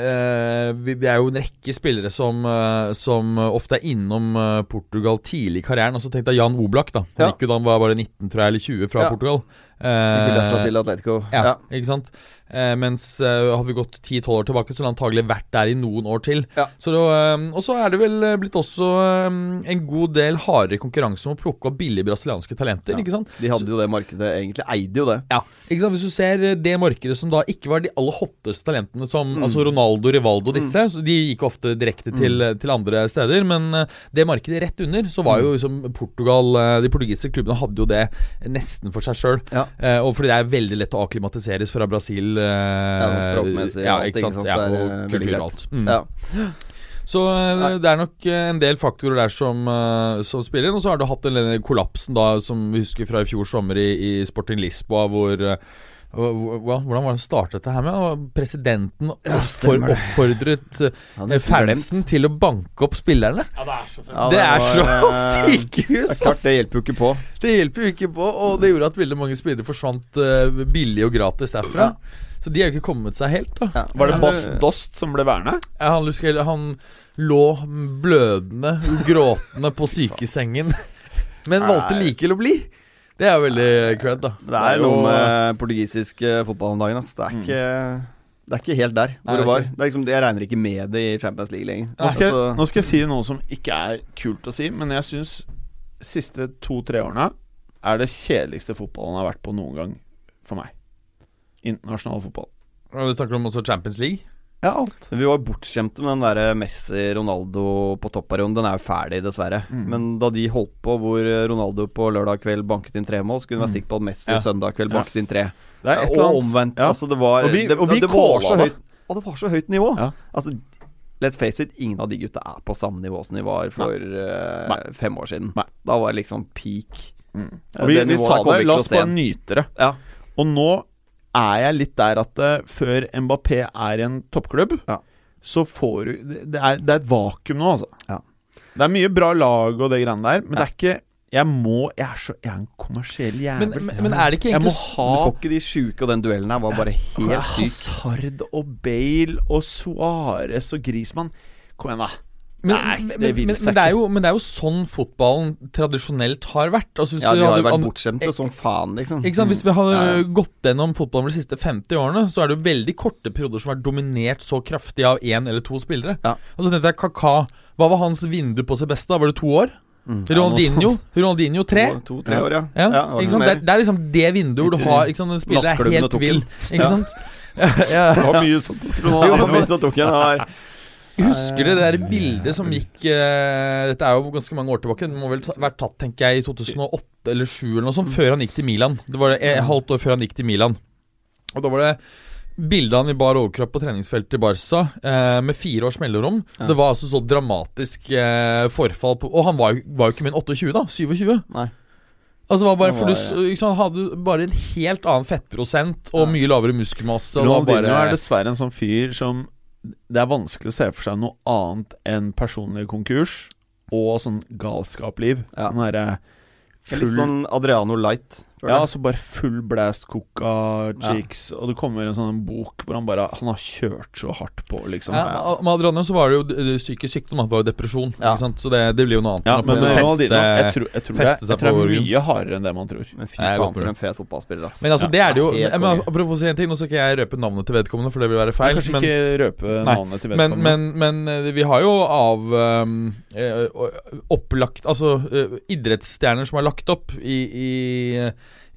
eh, vi, vi er jo en rekke spillere som, eh, som ofte er innom eh, Portugal tidlig i karrieren. Altså, Tenk deg Jan Oblak. da Han
Ja.
gikk jo da han var bare 19 tror jeg, eller 20 fra
Ja.
Portugal.
Gikk jo derfra
Eh,
til Atletico.
ja,
Ja.
ikke sant? Eh, mens eh, hadde vi gått 10-12 år tilbake, så ville han antagelig vært der i noen år til.
Ja.
Så det, eh, og så er det vel eh, blitt også eh, en god del hardere konkurranse om å plukke opp billige brasilianske talenter.
Ja.
ikke sant?
De hadde jo det markedet, egentlig eide jo det.
Ja, ikke sant? Hvis du ser eh, det markedet som da ikke var de aller hotteste talentene, som
Mm.
altså Ronaldo, Rivaldo og disse så De gikk ofte direkte til,
Mm.
eh, til andre steder, men eh, det markedet rett under, så var jo
Mm.
liksom Portugal eh, De portugisiske klubbene hadde jo det nesten for seg sjøl.
Ja.
og fordi det er veldig lett å akklimatiseres fra Brasil. eh,
sånn språkmessig
ja,
og alt,
ikke sant?
så
Ja,
er det eh,
og
veldig
kultur
greit.
og alt. Mm.
Ja.
Så eh, det er nok eh, en del faktorer der som, eh, som spiller inn. Og så har du hatt den denne kollapsen da som vi husker fra i fjor sommer i, i Sporting Lisboa, hvor eh, hva- hva- Hvordan var det han startet dette her med? Og Presidenten oppfor,
stemmer det.
oppfordret eh,
hadde nesten
fansen
glemt.
til å banke opp spillerne.
Ja,
det er så
var, eh, Det er
sykehus!
klart,
ass.
det hjelper jo ikke på.
Det hjelper jo ikke på, og det gjorde at veldig mange spillere forsvant eh, billig og gratis derfra. Så de har jo ikke kommet seg helt, da.
Var det Bas Dost som ble værende?
Ja, Han, husker, jeg, han lå blødende, gråtende på sykesengen, men valgte
Nei.
likevel å bli. Det er jo veldig cred, da.
Det er noe med portugisisk eh, fotball om dagen. Ass. Det, er ikke, det er ikke helt der hvor
Mm. Nei, det er
det var.
ikke.
Det er liksom, jeg regner ikke med det i Champions League lenger.
Nå skal, jeg,
Altså,
nå skal jeg si noe som ikke er kult å si, men jeg syns siste to-tre årene er det kjedeligste fotballen har vært på noen gang for meg. Internasjonal fotball.
Og Du snakker om også Champions League.
Ja, alt.
vi var bortskjemte med den der Messi-Ronaldo på topperioden. Den er jo ferdig, dessverre.
Mm.
Men da de holdt på hvor Ronaldo på lørdag kveld banket inn tre mål, så kunne vi være sikre på at Messi
Ja.
søndag kveld
Mm. Ja.
banket inn tre.
Det er et eller
Og
annet.
omvendt.
Ja.
Altså, det var
Og vi-
det,
og vi
det var så
kåla det.
høyt Og det var så høyt nivå.
Ja.
Altså, let's face it, ingen av de gutta er på samme nivå som de var for eh,
Nei.
fem år siden.
Nei. Mm.
Da var det liksom peak. Eh,
Og vi,
Det
vi
nivået
sa
kommer vi ikke
det, la
til å
oss
se
bare
igjen.
nyte det.
Ja.
Og nå er jeg litt der at eh, før Mbappé er en toppklubb,
Ja.
så får du det det er, det er et vakuum nå, altså.
Ja.
Det er mye bra lag og det greiene der, men det er ikke Jeg må Jeg er, så, jeg er en kommersiell jævel.
Men, men, men er det ikke
jeg må
egentlig
ha
Du får ikke de sjuke, og den duellen her var bare helt syk.
Hazard og Bale og Suárez og Grismann. Kom igjen, da.
men,
Nei, det
men-
vil
men,
seg
men, det er
ikke.
jo, men det er jo sånn fotballen tradisjonelt har vært. Altså, hvis
Ja,
vi
de har jo
hadde-
vært
an- Eh,
bortskjemte som faen, liksom.
Ikke sant? Hvis vi hadde
Ja, ja.
gått gjennom fotballen de siste 50 årene, så er det jo veldig korte perioder som har vært dominert så kraftig av én eller to spillere.
Ja.
Og så tenkte jeg Kaka Hva var hans vindu på sitt beste? da? Var det to år?
Mm.
Ronaldinho Ronaldinho tre?
To-tre Mm. år, ja.
Ja,
det var
ikke
ikke
sant? Det,
mer.
er, det er liksom det vinduet hvor du har ikke sant? En spiller er
Nattklubben og
helt
tok
vill.
den.
Ikke sant? Ja.
Det var mye sånt.
Jo, det var mye som tok igjen, det var-
Husker du det der bildet som gikk eh, Dette er jo ganske mange år tilbake. Det må vel ta, vært tatt tenker jeg, i 2008 eller 2007 eller noe sånt, før han gikk til Milan. Det var det, et halvt år før han gikk til Milan. Og da var det bilde av han i bar overkropp på treningsfeltet i Barca eh, med fire års mellomrom. Det var altså så dramatisk eh, forfall på Og han var, jo- var jo ikke mer enn 28, da. 27.
Nei.
Altså det var bare
Han
for du,
var,
s- ikke sant, hadde bare en helt annen fettprosent og mye lavere muskelmasse. Og det var
Ronaldinho
bare-
er dessverre en sånn fyr som Det er vanskelig å se for seg noe annet enn personlig konkurs og sånn galskapliv.
Ja.
Sånn derre
Litt
full
sånn Adriano Light. føler
Ja,
jeg.
altså bare full blast coca cheeks, og det kommer en sånn bok hvor han bare Han har kjørt så hardt på, liksom.
Ja,
Ja,
med- med Adriano så var det jo d- d- psykisk sykdom, da. det var jo depresjon.
Ja.
Ikke sant? Så det, det blir jo noe annet. enn
men
å på en måte
Ronaldinho Jeg
feste-
tror, jeg tror, det,
feste
jeg
seg
tror det
på
er
ryggen.
mye hardere enn det man tror.
Men fy
Nei, jeg
faen,
håper
for
det.
en fet fotballspiller, ass.
Men altså, det er det jo
helt
jeg, men,
konge.
Apropos si en ting, nå skal ikke jeg røpe navnet til vedkommende, for det vil være
Men
feil.
kanskje
Men,
ikke røpe
Nei,
navnet til
men,
vedkommende.
men, men eh, vi har jo av ehm, eh, opplagt Altså eh, idrettsstjerner som har lagt opp i, i,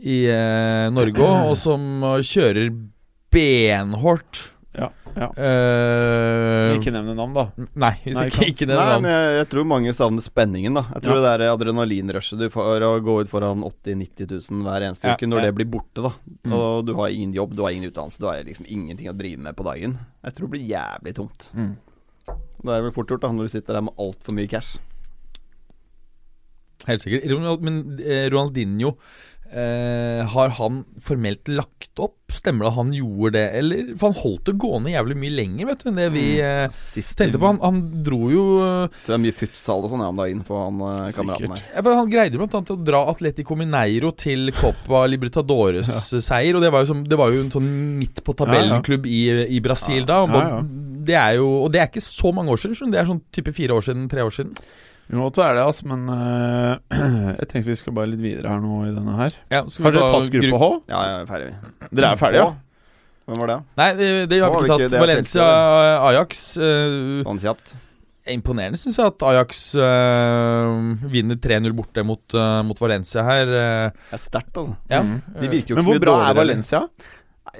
i eh, Norge òg, og som eh, kjører benhårdt.
ja, ja.
Eh,
Ikke nevne navn, da.
Nei, hvis
Nei, ikke
ikke,
sant.
ikke det
Nei,
navnet.
men jeg, jeg tror mange savner spenningen, da. Jeg tror
Ja.
det der adrenalinrushet du får å gå ut foran 80 000-90 000 hver eneste
Ja,
uke, når
ja. Mm.
det blir borte, da. Og du har ingen jobb, du har ingen utdannelse, du har liksom ingenting å drive med på dagen. Jeg tror det blir jævlig tomt.
Mm.
Det er vel fort gjort, da, når du sitter der med altfor mye cash.
Helt sikkert. Ronald- Men eh, Ronaldinho eh, Har han formelt lagt opp? Stemmer det at han gjorde det, eller? For han holdt det gående jævlig mye lenger, vet du, enn det vi
Mm.
eh,
Sist
tenkte på. Han, han dro jo eh,
Det er mye futsal og sånn ja, om dagen på han eh, kameraten her.
ja, for Han greide jo blant annet å dra Atletico Mineiro til Copa Libertadores-seier, og det var, jo som, det var jo en sånn midt på tabellen-klubb i, i Brasil da. Og,
Ja, ja.
Det er jo, og det er ikke så mange år siden, skjønner du. Det er sånn type fire år siden, tre år siden.
Vi må ta det, altså, men eh, jeg tenkte vi skal bare litt videre her nå i denne her.
Ja, skal vi
Har dere
ta
tatt gruppe H?
Ja, ja, ferdig, vi.
Dere er ferdige, ja?
Hvem var det?
Nei, det, det har
Nå har
vi ikke
vi ikke-
tatt.
det er
Valencia, Ajax eh,
Sånn kjapt.
Det er Imponerende, syns jeg, at Ajax øh, vinner 3-0 borte mot, øh, mot Valencia her. øh,
Det er sterkt, altså.
ja.
De virker jo ikke
Men
mye
hvor bra
dårligere.
er Valencia?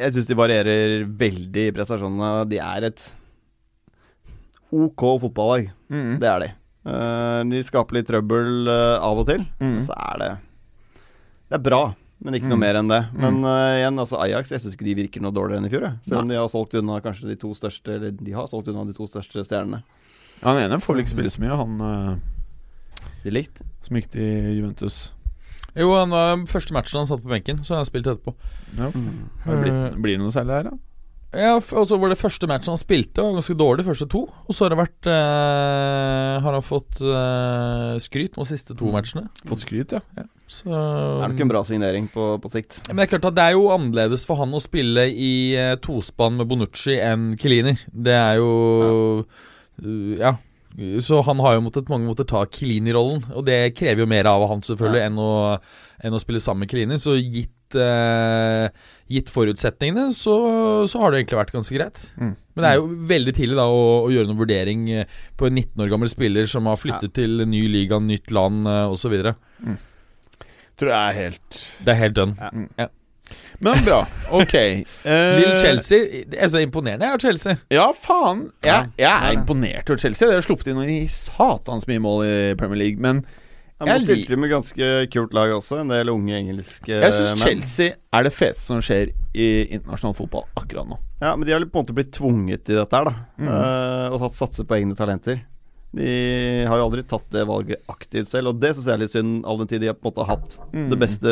Jeg syns de varierer veldig i prestasjonene. De er et OK fotballag.
Mm.
Det er de. Eh, de skaper litt trøbbel eh, av og til,
Mm.
men så er det Det er bra, men ikke noe mer enn det.
Mm.
Men eh, igjen, altså Ajax Jeg syns ikke de virker noe dårligere enn i fjor. jeg. Selv om de har solgt unna kanskje de to største Eller de har solgt unna de to største stjernene.
Han ene får vel ikke spille så mye, han eh,
De likt.
som gikk til Juventus.
Jo, han var første matchen han satt på benken, så har han spilt etterpå.
Har det blitt, blir det noe særlig her, da?
Ja, f- og så var det første matchen han spilte, var ganske dårlig, første to. Og så har det vært eh, Har han fått eh, skryt nå siste to matchene.
Fått skryt, ja.
Så
Mm. Er det ikke
Mm.
en bra signering på, på sikt?
Men det er klart at det er jo annerledes for han å spille i eh, tospann med Bonucci enn Kilini. Det er jo Uh, ja. Så han har jo måttet mange måter ta Kilini-rollen, og det krever jo mer av han selvfølgelig enn, å, enn å spille sammen med Kilini. Så gitt, eh, gitt forutsetningene, så, så har det egentlig vært ganske greit.
Mm.
Men det er jo veldig tidlig da å, å gjøre noen vurdering eh, på en 19 år gammel spiller som har flyttet til ny liga, nytt land eh, osv. Det
Tror jeg er helt
er helt dønn.
Men bra. Ok. Eh,
Lille Chelsea altså, det er så imponerende er Chelsea.
Ja, faen. Jeg, jeg er imponert over Chelsea. De har sluppet inn i satans mye mål i Premier League, men
Han
Jeg lik-
stilte med ganske kult lag også, en del unge engelske
jeg syns
menn.
Chelsea er det feteste som skjer i internasjonal fotball akkurat nå.
Ja, Men de har på en måte blitt tvunget til dette her, da.
Mm.
Eh, og tatt satse på egne talenter. De har jo aldri tatt det valget aktivt selv, og det syns jeg er litt synd, all den tid de har på en måte hatt
Mm.
det beste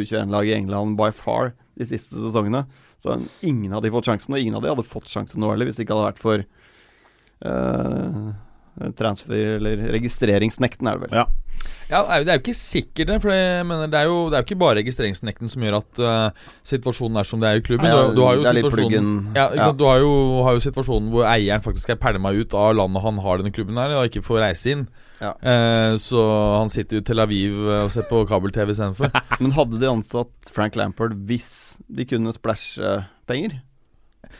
U21-laget i England by far de siste sesongene. Så ingen av de fått sjansen, og ingen av de hadde fått sjansen nå heller, hvis det ikke hadde vært for eh, transfer- eller registreringsnekten, er det vel.
Ja.
Ja, det er jo- det er jo ikke sikkert det, for jeg mener, det er jo, det er jo ikke bare registreringsnekten som gjør at eh, situasjonen er som det er i klubben.
Nei, ja,
du, du har jo
det er litt
situasjonen
pluggen.
ja, ikke
Ja.
sant? Du har jo, har jo situasjonen hvor eieren faktisk er pælma ut av landet han har denne klubben her, og ikke får reise inn.
Ja.
Eh, så han sitter jo i Tel Aviv eh, og ser på kabel-TV istedenfor.
Men hadde de ansatt Frank Lampard hvis de kunne splæsje penger?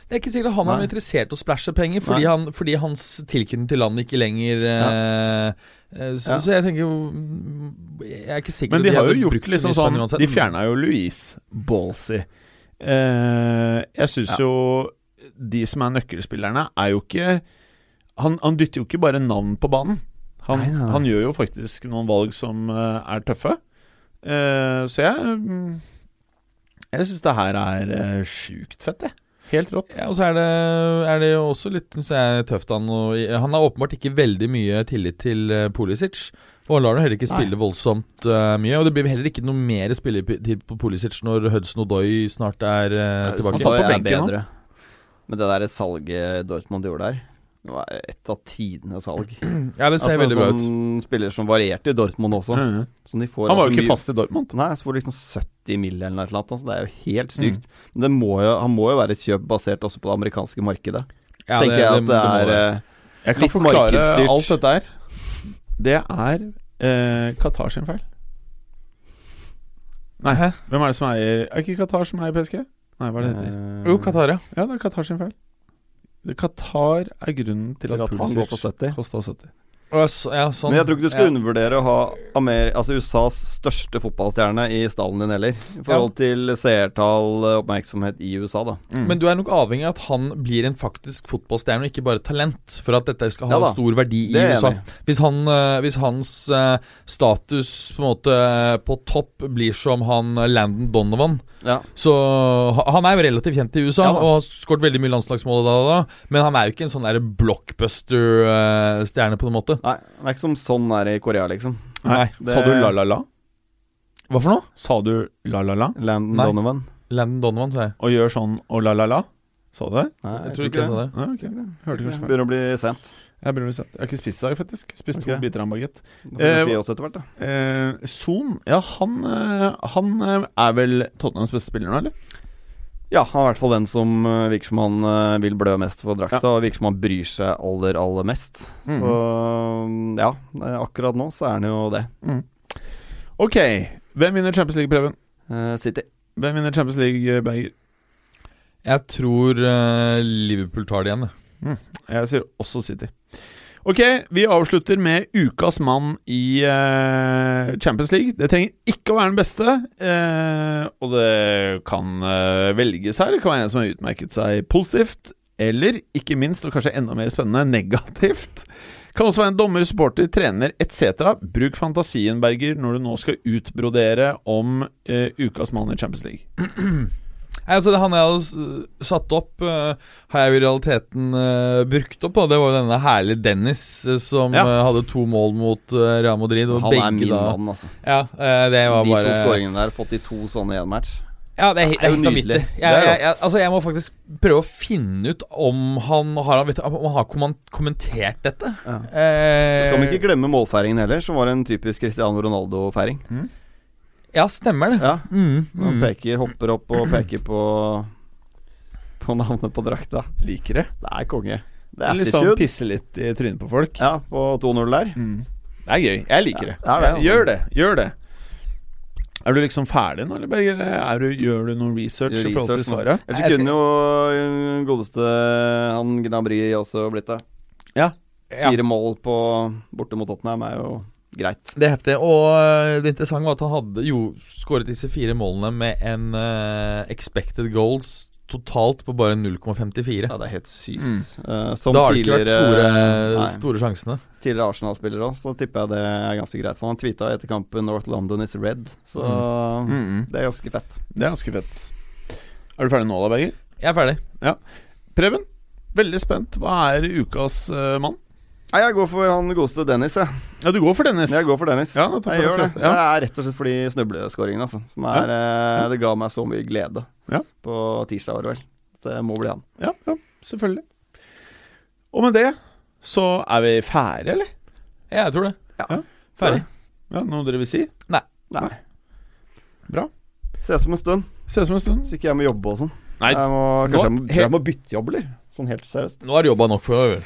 Det er ikke sikkert han er
Nei.
interessert i å splæsje penger, fordi,
Nei.
han, fordi hans tilknytning til landet ikke lenger eh, eh, så,
Ja.
så jeg tenker jo mm, Jeg er ikke sikker
Men
at
de har
hadde
jo gjort
brukt så
liksom
mye spenn
sånn
uansett.
De fjerna jo Louise Ballsy. Eh, jeg syns jo de som er nøkkelspillerne, er jo ikke Han, han dytter jo ikke bare navn på banen. Han,
Nei, nei, nei.
han gjør jo faktisk noen valg som eh, er tøffe. Eh, så jeg mm, Jeg syns det her er eh, sjukt fett, jeg. Helt rått.
Ja, og så er det, er det jo også litt synes jeg, tøft han å Han har åpenbart ikke veldig mye tillit til eh, Pulisic. Og han lar ham heller ikke spille voldsomt eh, mye. Og det blir heller ikke noe mer spilletid på Pulisic når Hudson Odoi snart er eh,
Han
tilbake.
sa jo
på
jeg er
benken,
bedre. Men det der salget Dortmund gjorde der, det var et av tidenes salg.
Ja, det ser
Altså,
veldig bra ut.
sånn spiller som varierte i Dortmund også.
Mhm.
Som de får
Han var
altså
jo ikke
mye-
fast i Dortmund.
Nei, så får du liksom 70 mill. eller noe sånt. Altså, det er jo helt sykt. Men det må jo, han må jo være et kjøp basert også på det amerikanske markedet.
Ja,
Tenker jeg at det,
må
er
være.
eh,
Jeg kan
Litt
forklare
markedsstyrt.
alt dette her. Det er eh, Qatar sin feil. Nei, hæ? Hvem er det som eier Er ikke Qatar som eier PSG? Nei, hva er det det heter?
eh,
Jo, Qatar, ja.
Ja, det er Qatar sin feil. Det- Qatar er grunnen til
til
at
at han går for
Pulisic
70.
kosta 70.
Og s- ja sånn.
Men jeg tror ikke du skal
Ja.
undervurdere å ha Amer altså USAs største fotballstjerne i stallen din heller. I forhold til seertall, eh, oppmerksomhet i USA, da.
Men du er nok avhengig av at han blir en faktisk fotballstjerne, og ikke bare talent, for at dette skal ha
Ja da,
stor verdi i
det er jeg
USA.
enig
Hvis, han, eh, hvis hans eh, status på en måte eh, på topp blir som han eh, Landon Donovan
Ja.
så ha- Han er jo relativt kjent i USA
Ja da.
og har skåret veldig mye landslagsmål, da, da, da, men han er jo ikke en sånn der blockbuster-stjerne, på en måte.
Nei, det er ikke som sånn er i Korea, liksom.
Nei,
det-
Sa du la-la-la?
Hva for noe?
Sa du la-la-la?
Landon
Nei.
Donovan.
Landon Donovan, sa jeg.
Og gjør sånn og la-la-la? Sa du det?
Nei,
Jeg tror ikke jeg sa det.
Nei, ok. Hørte kanskje feil.
Begynner å bli sent.
Jeg, begynner å si at- jeg har ikke spist i dag, faktisk. Spist to
Ok.
biter av en bagett.
Da får
Eh,
vi fri oss etter hvert, da.
Eh, Zoom, ja, han, eh, han eh, er vel Tottenhams beste spiller nå, eller?
Ja, han er i hvert fall den som eh, virker som han eh, vil blø mest for drakta, og virker som han bryr seg aller, aller mest. Så mm, ja, eh, akkurat nå så er han jo det.
Ok, hvem vinner Champions League, Preben?
Eh, City.
Hvem vinner Champions League, Berger?
Jeg tror eh, Liverpool tar det igjen. jeg.
Jeg sier også City. Ok, vi avslutter med ukas mann i eh, Champions League. Det trenger ikke å være den beste, eh, og det kan eh, velges her. Det kan være en som har utmerket seg positivt, eller ikke minst, og kanskje enda mer spennende, negativt. Kan også være en dommer, supporter, trener etc. Bruk fantasien, Berger, når du nå skal utbrodere om eh, ukas mann i Champions League.
Nei, altså det, Han jeg hadde s- satt opp, eh, har jeg jo i realiteten eh, brukt opp. da Det var jo denne herlige Dennis eh, som
Ja.
eh, hadde to mål mot eh, Real Madrid. Og
Han er
begge
min
da
mann, altså.
Ja, eh, det var
De to
bare
skåringene der, fått de to sånne i én match.
Ja, det er, he-
Det
det
er
er
jo
helt
nydelig.
vanvittig.
Det er
Jeg, jeg,
rått.
jeg, altså, jeg må faktisk prøve å finne ut om han har, vet, du, om han har komman- kommentert dette.
Ja.
Eh,
Skal vi ikke glemme målfeiringen heller, som var en typisk Cristiano Ronaldo-feiring.
Ja, stemmer det.
Ja,
Mm,
Han
mm.
peker, hopper opp og peker på På navnet på drakta.
Liker det.
Det er konge. Det er
Litt sånn
attitude.
pisse litt i trynet på
sånn
folk.
Ja, på 2-0 der.
Det er gøy. Jeg liker det.
Mm. Ja, det altså. er det.
Gjør det. Gjør det. Er du liksom ferdig nå, eller Berger? Er du, gjør du noe research
Gjør
i forhold til
research nå.
svaret?
Ellers
Jeg
så kunne jo øh, godeste han Gnabry også blitt det.
Ja.
Ja.
Fire mål på borte mot Tottenham er jo greit.
Det er heftig. Og eh, det interessante var at han hadde jo skåret disse fire målene med en eh, expected goals totalt på bare 0,54.
Ja, det er helt sykt.
Mm.
Eh, som
Da har det ikke vært store,
tidligere- nei.
store sjansene.
tidligere Arsenal-spiller òg, så tipper jeg det er ganske greit. For han tweeta etter kampen 'North London is red', så
Mm.
det er ganske fett.
Det er ganske fett. Er du ferdig nå da, Berger?
Jeg er ferdig.
Preben, veldig spent. Hva er ukas eh, mann?
Nei, jeg går for han godeste Dennis, jeg.
Ja, du går for Dennis.
Jeg går for Dennis.
Ja, da tok
jeg
jeg
gjør det.
det. Ja.
Det er rett og slett fordi snubleskåringen, altså. Som er, eh, det ga meg så mye glede
Ja.
på tirsdag, var det vel. Så det må bli han.
Ja, ja, selvfølgelig. Og med det så er vi ferdige, eller?
Ja, jeg tror det.
Ja.
Ferdig.
Ja, Noe dere vil si?
Nei.
Bra.
Ses om en stund,
Ses om en stund.
så ikke jeg må jobbe og sånn.
Nei,
Jeg må,
nå-
kanskje jeg må, tror jeg må bytte jobb, eller? Sånn helt seriøst.
Nå er det jobba nok for å gjøre.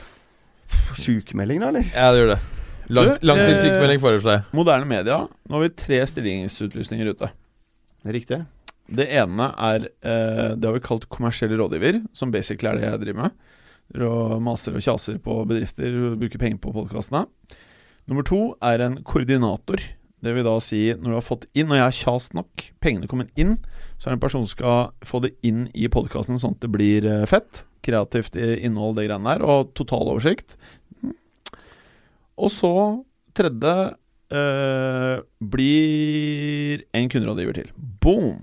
Sjukmelding, da, eller?
Ja, det gjør det. Lang,
Du, eh,
Langtidssykemelding foreslår jeg.
Moderne media. Nå har vi tre stillingsutlysninger ute.
Riktig.
Det ene er eh, Det har vi kalt kommersiell rådgiver, som basically er det jeg driver med. Og maser og kjaser på bedrifter, bruker penger på podkastene. Nummer to er en koordinator. Det vil da si, når du har fått inn, når jeg har kjast nok, pengene kommer inn, så er det en person som skal få det inn i podkasten sånn at det blir eh, fett. Kreativt i- innhold, det greiene der, og total oversikt. Mm. Og så tredje eh, blir en kunderådgiver til. Boom!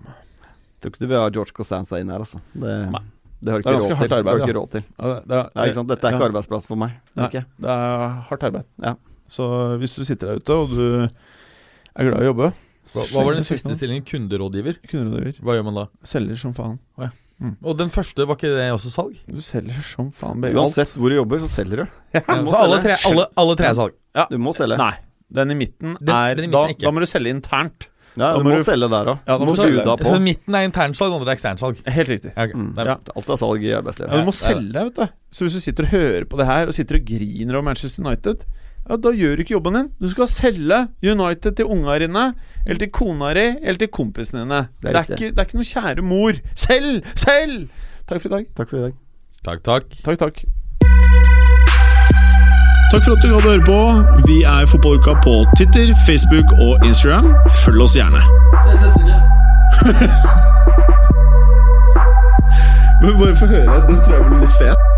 Tror ikke du vil ha George Costanza inn her, altså. Det,
Nei.
det har du
Det er
ikke
ganske
råd
hardt
til. Det har
arbeid,
du ikke råd til.
Ja, det, det,
Ja, ikke sant? Dette er ikke
ja,
arbeidsplass for meg.
Nei.
Ok.
Det er hardt arbeid.
Ja.
Så hvis du sitter der ute, og du er glad i å jobbe
Hva, hva var den siste stillingen? Kunderådgiver?
Kunderådgiver.
Hva gjør man da?
Selger som faen.
Og den første, var ikke det også salg?
Du selger som faen, baby.
Uansett hvor du jobber, så selger du.
Ja,
må
så alle
selge.
tre, alle, alle tre er salg.
Du må selge.
Nei. Den i midten
Den-
er
den i midten
da,
er ikke.
da må du selge internt.
Ja,
Da
du
må
må
du-
selge der òg.
Ja, da
du
må
må
du selge.
bjuda på.
Så midten er internsalg, den andre er eksternsalg.
Helt riktig.
Ja, ok.
Mm.
Det er bra.
Ja.
Alt er salg i arbeidslivet.
Ja, du må
det er det.
selge, vet du. Så hvis du sitter og hører på det her, og sitter og griner over Manchester United, ja, da gjør du ikke jobben din. Du skal selge United til unga dine, eller til kona di, eller til kompisene dine.
Det
Det
er
er,
riktig.
ikke, det er ikke noe kjære mor. Selg! Selg! Takk for i dag.
Takk for i dag.
Takk, takk.
Takk, takk.
Takk for at du gadd å høre på. Vi er Fotballuka på Twitter, Facebook og Instagram. Følg oss gjerne. Men bare få høre. Den tror jeg blir litt fet.